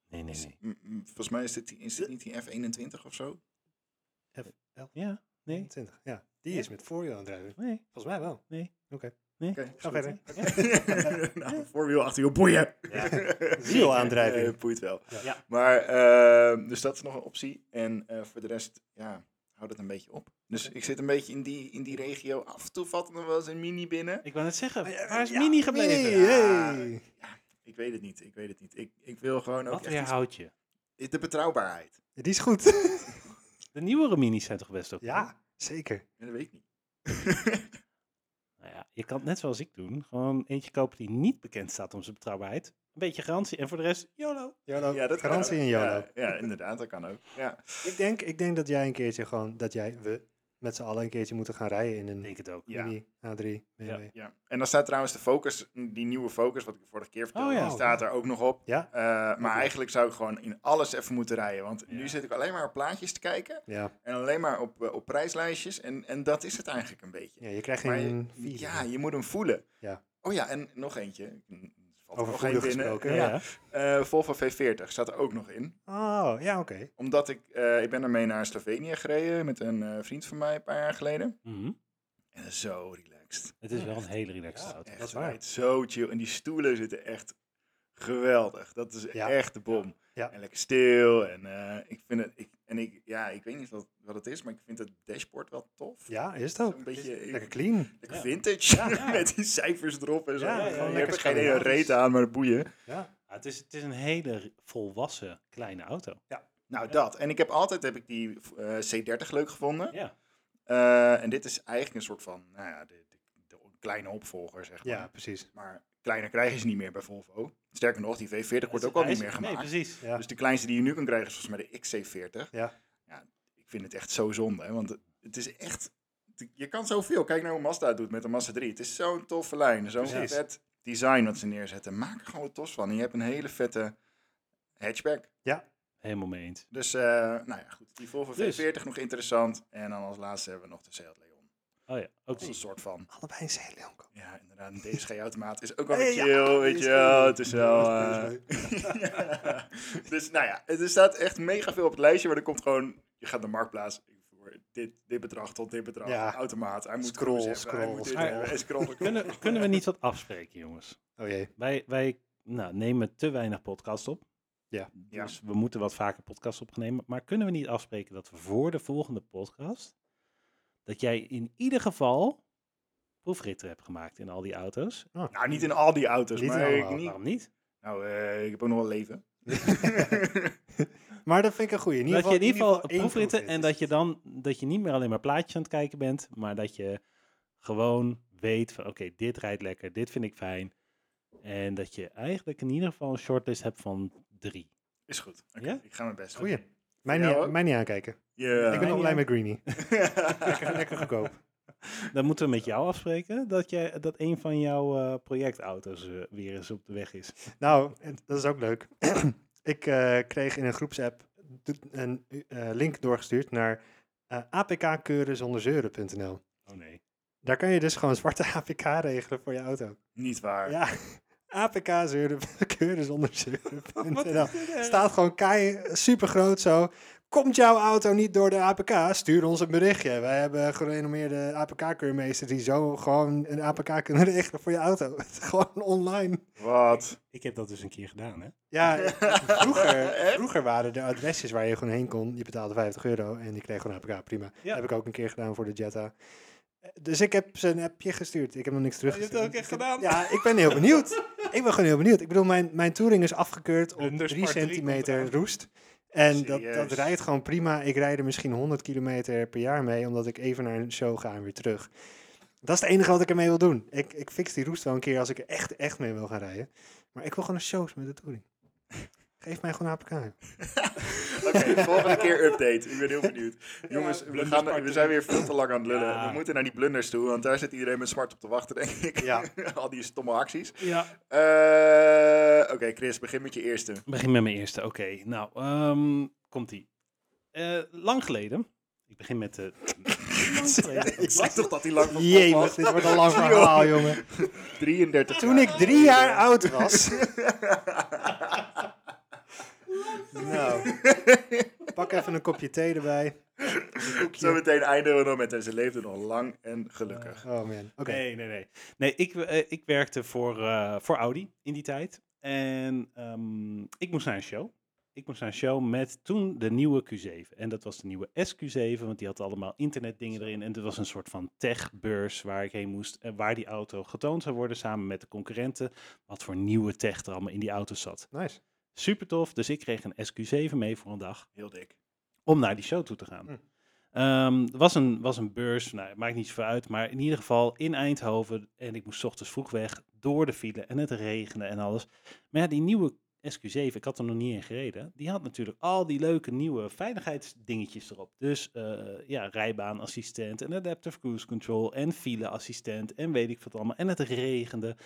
Speaker 2: Nee, nee, nee.
Speaker 1: Mm, mm, Volgens mij is dit, die- is dit niet die F21 of zo?
Speaker 2: Ja, nee,
Speaker 3: 20. Ja, die
Speaker 2: Ja.
Speaker 3: is met voorwiel aan het rijden.
Speaker 2: nee,
Speaker 3: Volgens mij wel.
Speaker 2: nee.
Speaker 3: Oké.
Speaker 2: Nee.
Speaker 1: Oké,
Speaker 3: Ga
Speaker 1: is goed.
Speaker 3: verder.
Speaker 1: [LAUGHS] nou, voorwiel, achterwiel, boeien! [LAUGHS]
Speaker 3: Wielaandrijving.
Speaker 1: Eh, boeit wel.
Speaker 3: Ja.
Speaker 2: Ja.
Speaker 1: Maar, ehm, dus dat is nog een optie. En eh, voor de rest, ja, hou dat een beetje op. Dus ik zit een beetje in die, in die regio. Af en toe valt er nog wel eens een mini binnen.
Speaker 2: Ik wou net zeggen,
Speaker 3: Ja,
Speaker 2: waar is
Speaker 3: eh, ja,
Speaker 2: Mini gebleven?
Speaker 3: Mini,
Speaker 1: Ja.
Speaker 3: hey.
Speaker 1: Ik weet het niet, ik weet het niet. Ik, ik wil gewoon ook
Speaker 2: Wat
Speaker 1: echt iets-
Speaker 2: weerhoudt je?
Speaker 1: de betrouwbaarheid.
Speaker 3: Die is goed. [LAUGHS]
Speaker 2: De nieuwere Minis zijn toch best ook
Speaker 3: ja, zeker.
Speaker 1: En dat weet
Speaker 3: [LAUGHS]
Speaker 1: ik niet.
Speaker 2: Nou ja, je kan het net zoals ik doen. Gewoon eentje kopen die niet bekend staat om zijn betrouwbaarheid. Een beetje garantie. En voor de rest, YOLO.
Speaker 3: YOLO.
Speaker 1: Ja, dat kan
Speaker 3: Garantie
Speaker 1: ook.
Speaker 3: in YOLO.
Speaker 1: Ja, ja, inderdaad, dat kan ook. Ja.
Speaker 3: Ik, denk, ik denk dat jij een keertje gewoon, dat jij, we, met z'n allen een keertje moeten gaan rijden in
Speaker 2: Ik
Speaker 3: een
Speaker 2: denk het ook.
Speaker 1: Ja.
Speaker 3: Mini A3 BMW.
Speaker 1: Ja. En dan staat trouwens de Focus, die nieuwe Focus, wat ik vorige keer vertelde,
Speaker 2: Oh ja.
Speaker 1: die staat er ook nog op.
Speaker 3: Ja.
Speaker 1: Eh, maar eigenlijk zou ik gewoon in alles even moeten rijden. Want nu
Speaker 2: Ja.
Speaker 1: zit ik alleen maar op plaatjes te kijken
Speaker 3: Ja.
Speaker 1: en alleen maar op, eh, op prijslijstjes. En, en dat is het eigenlijk een beetje.
Speaker 3: ja, je krijgt
Speaker 1: Maar je-
Speaker 3: geen feeling.
Speaker 1: ja, je moet hem voelen.
Speaker 3: Ja.
Speaker 1: Oh ja, en nog eentje. Er Valt er
Speaker 3: Over
Speaker 1: nog één
Speaker 3: voelen
Speaker 1: binnen.
Speaker 3: gesproken,
Speaker 1: Ja. Eh, Volvo V40 staat er ook nog in.
Speaker 3: Oh, ja, oké.
Speaker 1: Omdat ik, eh, ik ben ermee naar Slovenië gereden met een eh, vriend van mij een paar jaar geleden.
Speaker 2: Mhm.
Speaker 1: En zo relaxed.
Speaker 2: Het is wel een hele relaxed
Speaker 3: Ja,
Speaker 2: auto.
Speaker 1: Echt,
Speaker 3: dat is waar.
Speaker 1: rijdt Zo chill. En die stoelen zitten echt geweldig. Dat is
Speaker 3: Ja.
Speaker 1: echt de bom.
Speaker 3: Ja.
Speaker 1: En lekker stil. En eh, ik vind het, ik, en ik, ja, ik weet niet wat, wat het is, maar ik vind het dashboard wel tof.
Speaker 3: Ja, is het
Speaker 1: Zo'n
Speaker 3: ook.
Speaker 1: beetje-
Speaker 3: Lekker clean.
Speaker 1: Lekker vintage,
Speaker 2: Ja, ja.
Speaker 1: [LAUGHS] met die cijfers erop en zo. Ja,
Speaker 3: Ja, gewoon
Speaker 1: je
Speaker 3: lekker
Speaker 1: hebt er geen hele
Speaker 3: Scandinavisch.
Speaker 1: reet aan, maar boeien.
Speaker 3: Ja.
Speaker 2: Ja, het, is, het is een hele volwassen kleine auto.
Speaker 1: Nou, dat. En ik heb altijd heb ik die eh, C30 leuk gevonden.
Speaker 2: Ja.
Speaker 1: Eh, en dit is eigenlijk een soort van, nou ja, de, de, de kleine opvolger, zeg maar.
Speaker 3: ja, precies.
Speaker 1: Maar kleiner krijgen ze niet meer bij Volvo. Sterker nog, die V40 wordt ook al
Speaker 2: Hij
Speaker 1: niet
Speaker 2: is-
Speaker 1: meer
Speaker 2: Nee,
Speaker 1: gemaakt.
Speaker 2: precies.
Speaker 3: Ja.
Speaker 1: Dus de kleinste die je nu kan krijgen is volgens mij de XC40.
Speaker 3: Ja.
Speaker 1: Ja, ik vind het echt zo zonde, hè, want het- het is echt... het- Je kan zoveel. Kijk nou hoe Mazda het doet met de Mazda 3. Het is zo'n toffe lijn. Zo'n
Speaker 3: Precies.
Speaker 1: vet design wat ze neerzetten. Maak er gewoon wat tofs van. En je hebt een hele vette hatchback.
Speaker 2: Helemaal mee eens.
Speaker 1: Dus, eh, nou ja, goed. Die Volvo
Speaker 2: Dus.
Speaker 1: V40 nog interessant. En dan als laatste hebben we nog de Seat Leon.
Speaker 2: Oh ja, ook
Speaker 1: Dat is een soort van...
Speaker 3: Allebei een C-Leon.
Speaker 1: Ja, inderdaad. Een DSG-automaat is ook wel weer
Speaker 3: Hey, ja,
Speaker 1: chill, weet
Speaker 3: DSG.
Speaker 1: je wel. Het is wel...
Speaker 3: Ja,
Speaker 1: eh, [LAUGHS]
Speaker 3: [LAUGHS]
Speaker 1: ja. Dus nou ja, er staat echt mega veel op het lijstje, maar er komt gewoon... Je gaat naar Marktplaats, ik voer dit, dit bedrag tot dit bedrag,
Speaker 3: Ja.
Speaker 1: automaat. Hij moet
Speaker 3: Scroll,
Speaker 1: cruise hebben, hij
Speaker 3: scroll,
Speaker 1: moet dit
Speaker 2: scroll.
Speaker 1: hebben, en scroll, scroll. [LAUGHS]
Speaker 2: Kunnen, kunnen we niet wat afspreken, jongens?
Speaker 3: Oh jee.
Speaker 2: Wij, wij nou, nemen te weinig podcast op.
Speaker 3: Ja.
Speaker 1: Ja.
Speaker 2: Dus we moeten wat vaker podcast opnemen. Maar kunnen we niet afspreken dat we voor de volgende podcast... dat jij in ieder geval proefritten hebt gemaakt in al die auto's?
Speaker 3: Oh.
Speaker 1: Nou, niet in al die auto's,
Speaker 3: Niet in
Speaker 1: maar
Speaker 3: alle
Speaker 1: ik,
Speaker 3: auto's.
Speaker 1: niet,
Speaker 2: Waarom niet?
Speaker 1: nou, eh, ik heb ook nog wel
Speaker 3: [LAUGHS]
Speaker 1: leven.
Speaker 3: Maar dat vind ik een goeie. In ieder
Speaker 2: Dat je
Speaker 3: geval,
Speaker 2: in ieder geval
Speaker 3: één
Speaker 2: proefritten en dat je dan dat je niet meer alleen maar plaatjes aan het kijken bent, maar dat je gewoon weet van oké, dit rijdt lekker, dit vind ik fijn. En dat je eigenlijk in ieder geval een shortlist hebt van drie.
Speaker 1: Is goed. Oké,
Speaker 2: Ja?
Speaker 1: Ik ga mijn best doen.
Speaker 3: Goeie. Mij
Speaker 1: Voor jou
Speaker 3: niet,
Speaker 1: ook?
Speaker 3: mij niet aankijken.
Speaker 1: Ja.
Speaker 3: Ik ben nog blij met Greenie.
Speaker 1: Lekker,
Speaker 3: Lekker goedkoop.
Speaker 2: Dan moeten we met jou afspreken dat, jij, dat een van jouw eh, projectauto's eh, weer eens op de weg is.
Speaker 3: Nou, en dat is ook leuk. [CLEARS THROAT] ik eh, kreeg in een groepsapp do- een eh, link doorgestuurd naar eh apkkeurenzonderzeuren.nl.
Speaker 2: Oh nee.
Speaker 3: Daar kan je dus gewoon zwarte [LAUGHS] APK regelen voor je auto.
Speaker 1: [LAUGHS] Niet waar.
Speaker 3: Ja, [LAUGHS] APK zeuren, keuren zonder zeuren.nl.
Speaker 2: erg?
Speaker 3: Staat gewoon kei super groot zo. Komt jouw auto niet door de APK? Stuur ons een berichtje. Wij hebben gerenommeerde APK-keurmeesters die zo gewoon een APK kunnen [LAUGHS] regelen voor je auto. gewoon online.
Speaker 1: Wat?
Speaker 2: Ik heb dat dus een keer gedaan, hè?
Speaker 3: Ja, vroeger,
Speaker 1: Echt?
Speaker 3: vroeger waren er adresjes waar je gewoon heen kon. Je betaalde 50 euro en die kreeg gewoon APK, prima.
Speaker 2: Ja.
Speaker 3: Heb ik ook een keer gedaan voor de Jetta. Dus ik heb ze een appje gestuurd. Ik heb nog niks
Speaker 2: Oh, je hebt
Speaker 3: teruggestuurd.
Speaker 2: het ook echt gedaan.
Speaker 3: Ja, ik ben heel
Speaker 2: [LAUGHS]
Speaker 3: benieuwd. Ik ben gewoon heel benieuwd. Ik bedoel, mijn, mijn touring is afgekeurd op
Speaker 1: Underspar
Speaker 3: 3
Speaker 1: drie komt
Speaker 3: centimeter
Speaker 1: eraan.
Speaker 3: roest. En dat,
Speaker 1: Serieus?
Speaker 3: dat rijdt gewoon prima. Ik rijd er misschien 100 kilometer per jaar mee, omdat ik even naar een show ga en weer terug. Dat is het enige wat ik ermee wil doen. Ik, ik fix die roest wel een keer als ik er echt, echt mee wil gaan rijden. Maar ik wil gewoon naar shows met de touring. Geef mij gewoon APK.
Speaker 1: Oké,
Speaker 3: [LAUGHS]
Speaker 1: volgende keer update. Ik ben heel benieuwd. Jongens, we,
Speaker 2: blunders
Speaker 1: gaan, we zijn weer veel te lang aan het lullen.
Speaker 2: Ja.
Speaker 1: We moeten naar die blunders toe, want daar zit iedereen met zwart op te wachten, denk ik.
Speaker 3: Ja.
Speaker 1: [LAUGHS] Al die stomme acties.
Speaker 2: Ja.
Speaker 1: Eh, Oké, Chris, begin met je eerste.
Speaker 2: Begin met mijn eerste. Oké, nou, ehm, komt-ie. Eh, lang geleden. Ik begin met [LAUGHS] de. lang geleden.
Speaker 1: Ik zei toch dat hij lang van
Speaker 3: Jee,
Speaker 1: top was?
Speaker 3: dit wordt een [LAUGHS] lang verhaal, jongen.
Speaker 1: 33
Speaker 3: Toen ik drie jaar oud was. [LAUGHS] nou, pak even een kopje thee erbij.
Speaker 1: Zometeen eindigen we nog met en ze leefde nog lang en gelukkig.
Speaker 3: Oh man, oké.
Speaker 2: Nee, nee, nee. Nee, ik, eh, ik werkte voor, eh, voor Audi in die tijd. En ehm, ik moest naar een show. Ik moest naar een show met toen de nieuwe Q7. En dat was de nieuwe SQ7, want die had allemaal internetdingen erin. En dat was een soort van techbeurs waar ik heen moest. En waar die auto getoond zou worden samen met de concurrenten. Wat voor nieuwe tech er allemaal in die auto zat.
Speaker 3: Nice.
Speaker 2: Super tof. Dus ik kreeg een SQ7 mee voor een dag
Speaker 1: Heel dik.
Speaker 2: om naar die show toe te gaan.
Speaker 3: Hm.
Speaker 2: Ehm, er was een, was een beurs, nou, maakt niet zoveel uit, maar in ieder geval in Eindhoven. En ik moest 's ochtends vroeg weg door de file en het regende en alles. Maar ja, die nieuwe SQ7, ik had er nog niet in gereden, die had natuurlijk al die leuke nieuwe veiligheidsdingetjes erop. Dus eh, ja, rijbaanassistent en adaptive cruise control en fileassistent en weet ik wat allemaal. En het regende.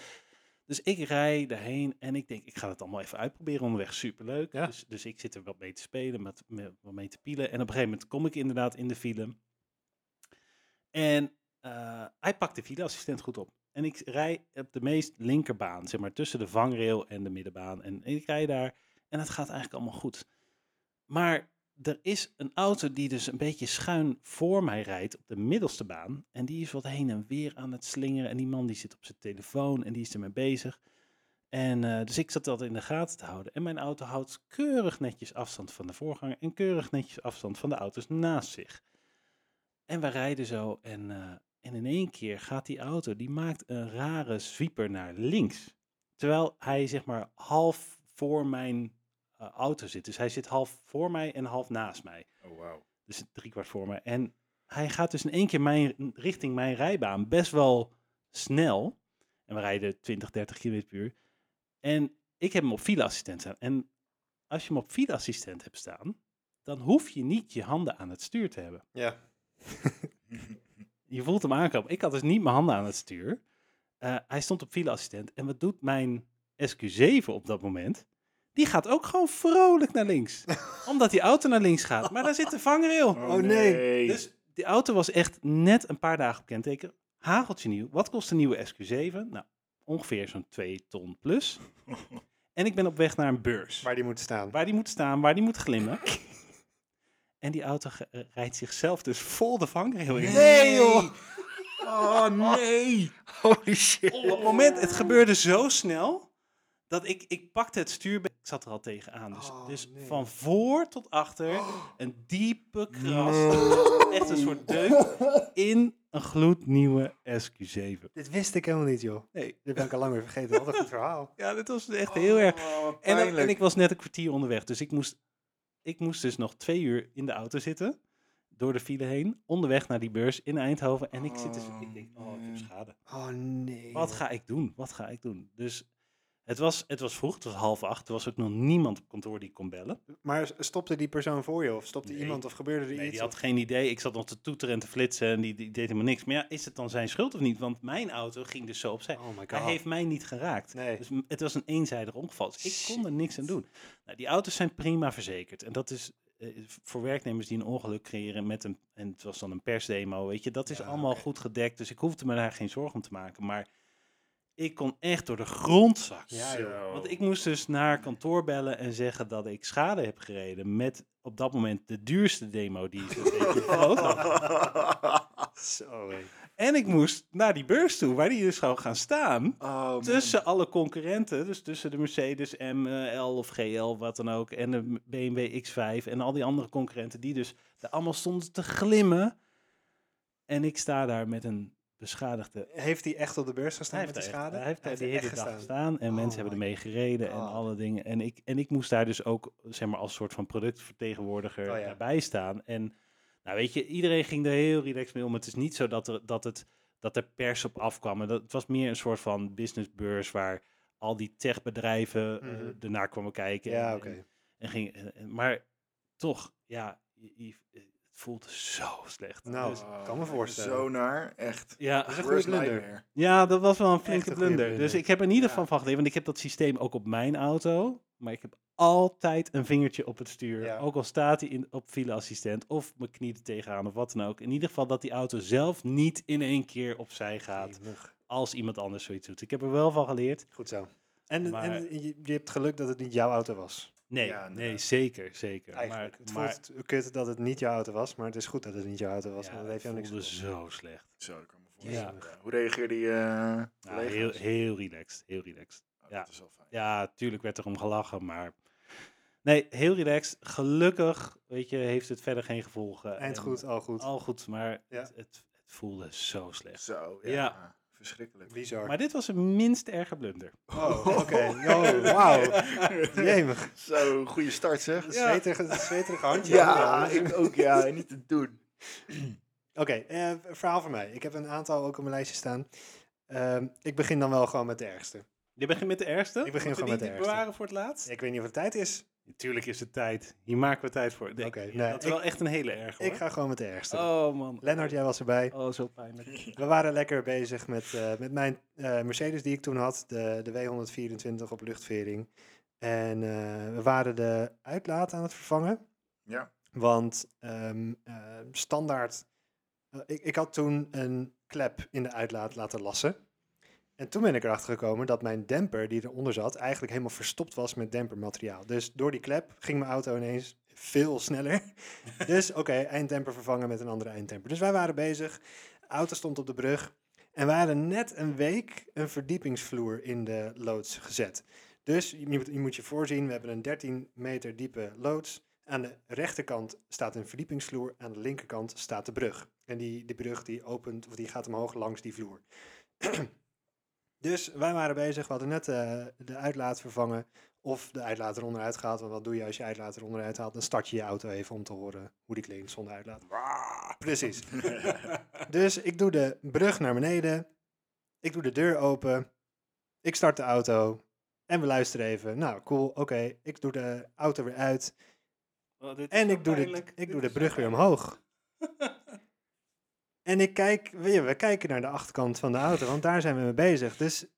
Speaker 2: Dus ik rij daarheen en ik denk, ik ga het allemaal even uitproberen onderweg. Superleuk.
Speaker 3: Ja.
Speaker 2: Dus, dus ik zit er wat mee te spelen, met, met, wat mee te pielen. En op een gegeven moment kom ik inderdaad in de file. En eh, hij pakt de fileassistent goed op. En ik rij op de meest linkerbaan, zeg maar tussen de vangrail en de middenbaan. En ik rij daar en het gaat eigenlijk allemaal goed. Maar er is een auto die dus een beetje schuin voor mij rijdt op de middelste baan. En die is wat heen en weer aan het slingeren. En die man die zit op zijn telefoon en die is ermee bezig. En eh, dus ik zat dat in de gaten te houden. En mijn auto houdt keurig netjes afstand van de voorganger en keurig netjes afstand van de auto's naast zich. En we rijden zo en, eh, en in één keer gaat die auto, die maakt een rare zwieper naar links. Terwijl hij zeg maar half voor mijn eh, auto zit. Dus hij zit half voor mij en half naast mij.
Speaker 1: Oh, wauw.
Speaker 2: Dus drie kwart voor me. En hij gaat dus in één keer mijn, richting mijn rijbaan best wel snel. En we rijden 20, 30 km per uur. En ik heb hem op fileassistent staan. En als je hem op fileassistent hebt staan, dan hoef je niet je handen aan het stuur te hebben.
Speaker 3: Ja.
Speaker 2: Je voelt hem aankomen. Ik had dus niet mijn handen aan het stuur. Eh, hij stond op fileassistent. En wat doet mijn SQ7 op dat moment? Die gaat ook gewoon vrolijk naar
Speaker 3: [LAUGHS]
Speaker 2: links. Omdat die auto naar links gaat. Maar daar zit de vangrail.
Speaker 3: Oh, nee.
Speaker 2: Dus die auto was echt net een paar dagen op kenteken. Hageltje nieuw. Wat kost een nieuwe SQ7? Nou, ongeveer zo'n 2 ton
Speaker 3: [LAUGHS]
Speaker 2: plus. En ik ben op weg naar een beurs.
Speaker 3: Waar die moet staan.
Speaker 2: Waar die moet staan, waar die moet glimmen. [LAUGHS] En die auto ge- eh, rijdt zichzelf dus vol de vangrail in.
Speaker 3: Nee, joh.
Speaker 1: Oh nee!
Speaker 3: Holy shit.
Speaker 2: Op het moment, het gebeurde zo snel, dat ik, ik pakte het stuur. Ik zat er al tegenaan. Dus,
Speaker 3: Oh,
Speaker 2: dus
Speaker 3: nee.
Speaker 2: van voor tot
Speaker 3: [GASPS]
Speaker 2: achter, een diepe kras. [LAUGHS] Echt een soort deuk in een gloednieuwe SQ7.
Speaker 3: Dit wist ik helemaal niet, joh.
Speaker 2: Nee.
Speaker 3: Dit ben ik al lang weer vergeten. Wat een goed verhaal.
Speaker 2: Ja, dit was echt
Speaker 3: Oh,
Speaker 2: heel erg.
Speaker 1: Oh,
Speaker 2: En, dan- en ik
Speaker 1: ik...
Speaker 2: was net een kwartier onderweg, dus ik moest, ik moest dus nog twee uur in de auto zitten. Door de file heen, onderweg naar die beurs in Eindhoven. En ik zit dus, ik denk, oh, ik heb schade.
Speaker 3: Oh nee.
Speaker 2: Wat ga ik doen? Wat ga ik doen? Dus het was, het was vroeg, het was half acht. Er was ook nog niemand op kantoor die kon bellen.
Speaker 3: Maar stopte die persoon voor je? Of stopte
Speaker 2: Nee.
Speaker 3: iemand? Of gebeurde er
Speaker 2: Nee,
Speaker 3: iets?
Speaker 2: die had geen idee. Ik zat nog te toeteren en te flitsen en die, die deed helemaal niks. Maar ja, is het dan zijn schuld of niet? Want mijn auto ging dus zo opzij.
Speaker 3: Oh my god.
Speaker 2: Hij heeft mij niet geraakt.
Speaker 3: Nee.
Speaker 2: Dus m- het was een eenzijdig ongeval. Dus ik kon er niks aan doen. Nou, die auto's zijn prima verzekerd. En dat is eh, voor werknemers die een ongeluk creëren met een. En het was dan een persdemo, weet je. Dat is
Speaker 3: Ja,
Speaker 2: allemaal
Speaker 3: oké.
Speaker 2: goed gedekt. Dus ik hoefde me daar geen zorgen om te maken. Maar ik kon echt door de grond zakken.
Speaker 3: Ja, joh.
Speaker 2: Want ik moest dus naar kantoor bellen en zeggen dat ik schade heb gereden. Met op dat moment de duurste demo die ze
Speaker 3: [LAUGHS]
Speaker 2: ooit had.
Speaker 3: Zo. hé.
Speaker 2: En ik moest naar die beurs toe, waar die dus zou gaan staan.
Speaker 1: Oh,
Speaker 2: Tussen alle concurrenten, dus tussen de Mercedes M, eh, L of GL, wat dan ook, en de BMW X5 en al die andere concurrenten, die dus er allemaal stonden te glimmen. En ik sta daar met een beschadigde...
Speaker 3: Heeft hij echt op de beurs gestaan
Speaker 2: Hij
Speaker 3: met
Speaker 2: heeft,
Speaker 3: die
Speaker 2: daar echt-
Speaker 3: schade?
Speaker 2: hij heeft daar die hele
Speaker 3: er
Speaker 2: dag
Speaker 3: echt
Speaker 2: gestaan,
Speaker 3: gestaan.
Speaker 2: en
Speaker 3: Oh
Speaker 2: mensen hebben
Speaker 3: my
Speaker 2: ermee gereden en
Speaker 3: God.
Speaker 2: alle dingen. En ik, en ik moest daar dus ook zeg maar, als soort van productvertegenwoordiger
Speaker 3: Oh ja.
Speaker 2: bij staan. En nou weet je, iedereen ging er heel relaxed mee om. Het is niet zo dat er, dat het, dat er pers op afkwam. En Dat, het was meer een soort van businessbeurs waar al die techbedrijven eh,
Speaker 3: Mhm.
Speaker 2: ernaar kwamen kijken. en-
Speaker 3: Ja,
Speaker 2: en-
Speaker 3: oké.
Speaker 2: En ging, en- en- maar toch, ja, je- je- het voelt zo slecht.
Speaker 3: Nou, Dus
Speaker 2: Dus-
Speaker 1: Oh,
Speaker 3: kan me voorstellen.
Speaker 1: Zo naar, echt.
Speaker 2: ja,
Speaker 3: is een goede
Speaker 1: Worst
Speaker 3: blunder.
Speaker 1: nightmare.
Speaker 2: ja, dat was wel een flinke
Speaker 3: Echt een goede
Speaker 2: blunder.
Speaker 3: blunder.
Speaker 2: Dus ik heb er in ieder
Speaker 1: Ja.
Speaker 2: geval van geleerd, want ik heb dat systeem ook op mijn auto. Maar ik heb altijd een vingertje op het stuur.
Speaker 3: Ja.
Speaker 2: Ook al staat hij in, op fileassistent of mijn knie er tegenaan of wat dan ook. In ieder geval dat die auto zelf niet in één keer opzij gaat
Speaker 3: Jemig.
Speaker 2: als iemand anders zoiets doet. Ik heb er wel van geleerd.
Speaker 3: Goed zo. En,
Speaker 2: Maar-
Speaker 3: en je, je hebt geluk dat het niet jouw auto was.
Speaker 2: Nee,
Speaker 1: Ja,
Speaker 2: nee
Speaker 1: inderdaad.
Speaker 2: zeker, zeker.
Speaker 3: Eigenlijk.
Speaker 2: Maar,
Speaker 3: het
Speaker 2: maar
Speaker 3: voelt kut dat het niet jouw auto was, maar het is goed dat het niet jouw auto was.
Speaker 2: ja,
Speaker 3: want
Speaker 2: het
Speaker 3: dat heeft jou niks
Speaker 2: voelde
Speaker 3: gekost.
Speaker 2: zo slecht.
Speaker 1: Zo, ik kan me voorstellen.
Speaker 3: Ja.
Speaker 1: Ja. Hoe reageerde je eh,
Speaker 2: Nou,
Speaker 1: collega's?
Speaker 2: heel, heel relaxed, heel relaxed.
Speaker 1: Oh,
Speaker 2: ja.
Speaker 1: Dat is wel fijn.
Speaker 2: Ja, tuurlijk werd er om gelachen, maar... Nee, heel relaxed. Gelukkig, weet je, heeft het verder geen gevolgen.
Speaker 3: Eind
Speaker 2: En
Speaker 3: goed, al goed.
Speaker 2: Al goed, maar
Speaker 3: Ja.
Speaker 2: het, het, het voelde zo slecht.
Speaker 1: Zo, ja.
Speaker 2: Ja.
Speaker 1: Verschrikkelijk.
Speaker 3: Bizar.
Speaker 2: Maar dit was een minst erge blunder.
Speaker 3: Oh, oké.
Speaker 2: [LAUGHS]
Speaker 3: Oh, wauw.
Speaker 1: [LAUGHS]
Speaker 3: Jemig.
Speaker 1: Zo, goede start zeg.
Speaker 3: Zweterig, zweterig handje.
Speaker 1: Ja, ik ook, ja. Niet te doen.
Speaker 3: Oké, eh, verhaal van mij. Ik heb een aantal ook op mijn lijstje staan. Ehm, ik begin dan wel gewoon met de ergste.
Speaker 2: Je begint met de ergste?
Speaker 3: Ik begin
Speaker 2: Oh, Moeten
Speaker 3: gewoon met
Speaker 2: die
Speaker 3: de
Speaker 2: niet
Speaker 3: ergste.
Speaker 2: bewaren voor het laatst?
Speaker 3: Ik weet niet of het tijd is.
Speaker 2: Natuurlijk is het tijd. Hier maken we tijd voor. Nee,
Speaker 3: Oké,
Speaker 2: ik-
Speaker 3: nee,
Speaker 2: dat is
Speaker 3: ik-
Speaker 2: wel echt een hele erge,
Speaker 3: Ik
Speaker 2: hoor.
Speaker 3: ga gewoon met de ergste.
Speaker 2: Oh, man.
Speaker 3: Lennart, jij was erbij.
Speaker 2: Oh, zo pijnlijk.
Speaker 3: We waren lekker bezig met, eh, met mijn eh, Mercedes die ik toen had, de, de W124 op luchtvering. En eh, we waren de uitlaat aan het vervangen.
Speaker 1: Ja.
Speaker 3: Want ehm, eh, standaard, eh, ik, ik had toen een klep in de uitlaat laten lassen. En toen ben ik erachter gekomen dat mijn demper die eronder zat eigenlijk helemaal verstopt was met dempermateriaal. Dus door die klep ging mijn auto ineens veel sneller. dus oké, einddemper vervangen met een andere einddemper. Dus wij waren bezig, de auto stond op de brug en we hadden net een week een verdiepingsvloer in de loods gezet. Dus je moet je, moet je voorzien, we hebben een 13 meter diepe loods. Aan de rechterkant staat een verdiepingsvloer, aan de linkerkant staat de brug. En die, die brug die opent, of die gaat omhoog langs die vloer. [CLEARS THROAT] dus wij waren bezig, we hadden net eh, de uitlaat vervangen of de uitlaat eronder uitgehaald. Want wat doe je als je uitlaat eronder uithaalt? Dan start je je auto even om te horen hoe die klinkt zonder uitlaat. Precies. dus ik doe de brug naar beneden, ik doe de deur open, ik start de auto en we luisteren even. Nou, cool, oké, ik doe de auto weer uit.
Speaker 2: Oh, dit is
Speaker 3: En
Speaker 2: zo
Speaker 3: ik doe, de,
Speaker 2: pijnlijk.
Speaker 3: ik
Speaker 2: Dit
Speaker 3: doe de
Speaker 2: is zo
Speaker 3: brug weer
Speaker 2: pijnlijk. [LAUGHS]
Speaker 3: omhoog. En ik kijk, we, we kijken naar de achterkant van de auto, want daar zijn we mee bezig. Dus de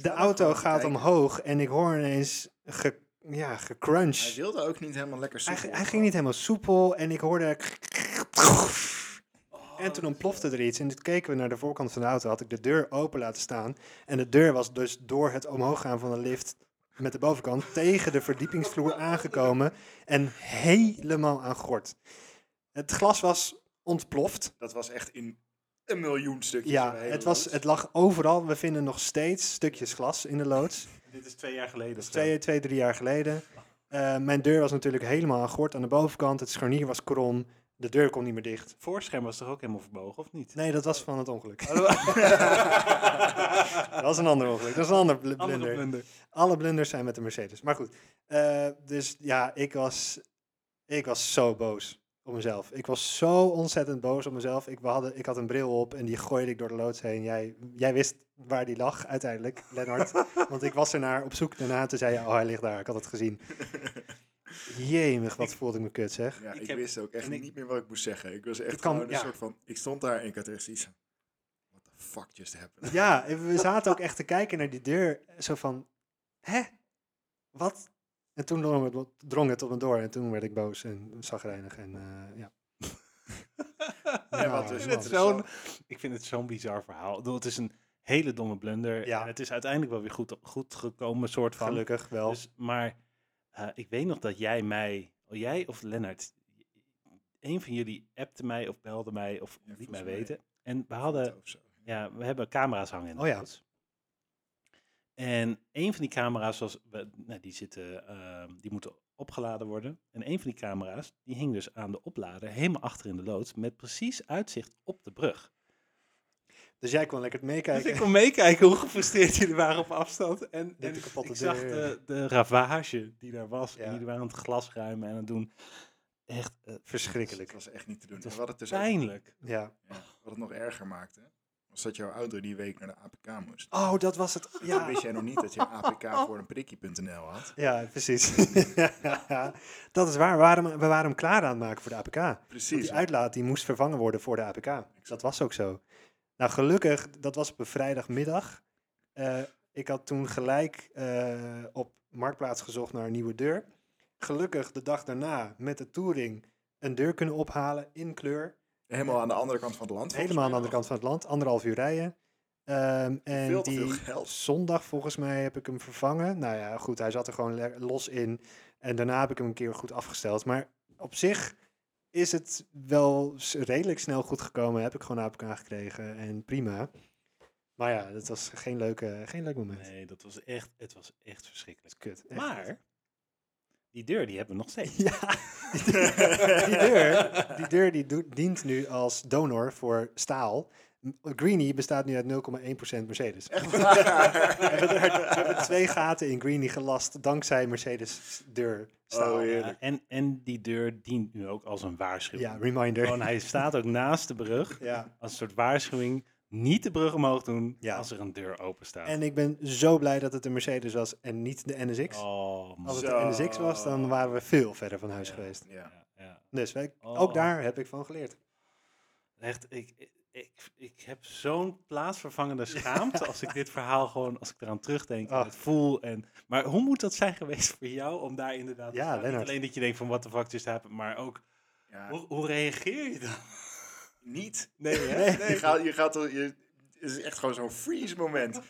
Speaker 1: staat
Speaker 3: auto
Speaker 1: gewoon te
Speaker 3: gaat
Speaker 1: kijken.
Speaker 3: omhoog en ik hoor ineens ge, ja,
Speaker 1: Hij
Speaker 3: gecrunch.
Speaker 1: wilde ook niet helemaal lekker
Speaker 3: Hij,
Speaker 1: soepel.
Speaker 3: hij ging niet helemaal soepel en ik hoorde... En toen ontplofte er iets en toen keken we naar de voorkant van de auto. Had ik de deur open laten staan en de deur was dus door het omhoog gaan van de lift met de bovenkant tegen de verdiepingsvloer aangekomen en helemaal aan gort. Het glas was ontploft.
Speaker 1: Dat was echt in een miljoen stukjes.
Speaker 3: Ja,
Speaker 1: een hele
Speaker 3: het, was,
Speaker 1: loods.
Speaker 3: het lag overal. We vinden nog steeds stukjes glas in de loods.
Speaker 2: Dit is twee jaar geleden. of zo.
Speaker 3: Twee, twee drie jaar geleden. Eh, mijn deur was natuurlijk helemaal aan gort aan de bovenkant. Het scharnier was krom. De deur kon niet meer dicht.
Speaker 2: Voorscherm was toch ook helemaal verbogen, of niet?
Speaker 3: Nee, dat was van het ongeluk. dat
Speaker 2: [LAUGHS]
Speaker 3: [LAUGHS] was een ander ongeluk. Dat is een ander bl-
Speaker 2: Andere
Speaker 3: blunder.
Speaker 2: blunder.
Speaker 3: Alle blunders zijn met de Mercedes. Maar goed. eh, dus ja, ik was, ik was zo boos op mezelf. Ik was zo ontzettend boos op mezelf. Ik, we hadden, ik had een bril op en die gooide ik door de loods heen. Jij, jij wist waar die lag uiteindelijk, Lennart. want ik was ernaar op zoek daarna. Toen zei je, oh hij ligt daar. Ik had het gezien. Jemig, wat voelde ik me kut zeg.
Speaker 1: Ja,
Speaker 2: Ik
Speaker 1: ik,
Speaker 2: heb-
Speaker 1: wist ook echt
Speaker 2: en ik-
Speaker 1: niet meer wat ik moest zeggen. Ik was echt
Speaker 3: kan-
Speaker 1: gewoon een
Speaker 3: ja.
Speaker 1: soort van... Ik stond daar en ik had echt iets van... What the fuck just happened?
Speaker 3: Ja, en we zaten ook echt te kijken naar die deur. Zo van, hè? Wat? En toen drong het, drong het op me door en toen werd ik boos en zagrijnig. En eh, ja,
Speaker 1: Ja,
Speaker 3: Nou,
Speaker 1: wat
Speaker 2: ik,
Speaker 1: dus
Speaker 2: vind het
Speaker 1: dus
Speaker 2: zo'n,
Speaker 1: zo-
Speaker 2: ik vind het zo'n bizar verhaal. Ik bedoel, Het is een hele domme blunder.
Speaker 3: Ja.
Speaker 2: En het is uiteindelijk wel weer goed, goed gekomen, soort van.
Speaker 3: gelukkig wel.
Speaker 2: Dus, maar eh, ik weet nog dat jij mij, oh, jij of Lennart, een van jullie appte mij of belde mij of
Speaker 1: Ja,
Speaker 2: liet
Speaker 1: volgens
Speaker 2: mij
Speaker 1: mij.
Speaker 2: weten. En we hadden,
Speaker 1: of zo. Dus
Speaker 2: ja, we hebben camera's hangen in de
Speaker 3: Oh ja.
Speaker 2: auto's. En een van die camera's was, we- nou, die, zitten, ehm, die moeten opgeladen worden. En een van die camera's, die hing dus aan de oplader, helemaal achter in de loods, met precies uitzicht op de brug.
Speaker 3: Dus jij kon lekker
Speaker 2: Dus ik
Speaker 3: meekijken.
Speaker 2: kon meekijken hoe gefrustreerd jullie waren op afstand. En,
Speaker 3: Dit
Speaker 2: en
Speaker 3: de kapotte
Speaker 2: ik zag
Speaker 3: deur.
Speaker 2: de, de ravage die daar was. En
Speaker 3: Ja.
Speaker 2: jullie waren aan het glas ruimen en aan het doen. Echt eh,
Speaker 1: Het
Speaker 3: Verschrikkelijk.
Speaker 1: was echt niet te doen.
Speaker 2: Het
Speaker 1: En
Speaker 2: was
Speaker 1: we hadden het dus ook-
Speaker 2: pijnlijk.
Speaker 3: Ja.
Speaker 1: wat het nog erger maakte, was dat jouw auto die week naar de APK moest.
Speaker 3: Oh, dat was het.
Speaker 1: Dan
Speaker 3: Ja,
Speaker 1: wist jij nog niet dat je een APK voor een prikkie.nl had.
Speaker 3: ja precies. [LAUGHS] Ja, dat is waar. We waren, hem- we waren hem klaar aan het maken voor de APK. Want
Speaker 1: Precies.
Speaker 3: Die uitlaat die moest vervangen worden voor de APK. Dus Dat was ook zo. Nou, gelukkig, dat was op een vrijdagmiddag. Eh, ik had toen gelijk eh, op Marktplaats gezocht naar een nieuwe deur. Gelukkig de dag daarna met de touring een deur kunnen ophalen in kleur.
Speaker 1: Helemaal aan de andere kant van het land. volgens
Speaker 3: Helemaal aan de
Speaker 1: mij [LAUGHS] nog.
Speaker 3: andere kant van het land, anderhalf uur rijden. Ehm, en
Speaker 1: Veel te
Speaker 3: die
Speaker 1: veel geld.
Speaker 3: zondag volgens mij heb ik hem vervangen. Nou ja, goed, hij zat er gewoon le- los in. En daarna heb ik hem een keer goed afgesteld. Maar op zich is het wel s- redelijk snel goed gekomen. Heb ik gewoon naar elkaar gekregen en prima. Maar ja, dat was geen, leuke, geen leuk moment.
Speaker 2: Nee, dat was echt, het was echt verschrikkelijk.
Speaker 3: Kut. echt.
Speaker 2: Maar, die deur die hebben we nog steeds.
Speaker 3: [LAUGHS] Ja, die deur, die deur, die, deur die doet- dient nu als donor voor staal. Greenie bestaat nu uit 0,1% Mercedes. We hebben, er, we hebben twee gaten in Greenie gelast dankzij Mercedes deur staal.
Speaker 1: Oh, heerlijk.
Speaker 2: Ja, en, en die deur dient nu ook als een waarschuwing.
Speaker 3: ja, reminder.
Speaker 2: Gewoon, hij staat ook naast de brug.
Speaker 3: Ja.
Speaker 2: Als een soort waarschuwing. Niet de brug omhoog doen
Speaker 3: Ja.
Speaker 2: als er een deur open staat.
Speaker 3: En ik ben zo blij dat het een Mercedes was en niet de NSX.
Speaker 2: oh, man.
Speaker 3: Als het
Speaker 1: Zo.
Speaker 3: de NSX was, dan waren we veel verder van huis
Speaker 2: Ja.
Speaker 3: geweest.
Speaker 1: Ja.
Speaker 2: Ja, ja.
Speaker 3: Dus wij,
Speaker 2: Oh.
Speaker 3: ook daar heb ik van geleerd.
Speaker 2: Echt, ik, ik, ik heb zo'n
Speaker 3: [LAUGHS]
Speaker 2: plaatsvervangende schaamte als ik dit verhaal gewoon, als ik eraan terugdenk en
Speaker 3: Ah.
Speaker 2: het voel. En, maar hoe moet dat zijn geweest voor jou om daar inderdaad te
Speaker 3: Ja,
Speaker 2: staan? Niet
Speaker 3: Lennart.
Speaker 2: alleen dat je denkt van wat de fuck is dat, maar ook
Speaker 1: Ja,
Speaker 2: hoe, hoe reageer je dan?
Speaker 1: Niet.
Speaker 2: [LAUGHS] Nee, hè?
Speaker 1: Je gaat, je gaat er- je, het is echt gewoon zo'n freeze moment.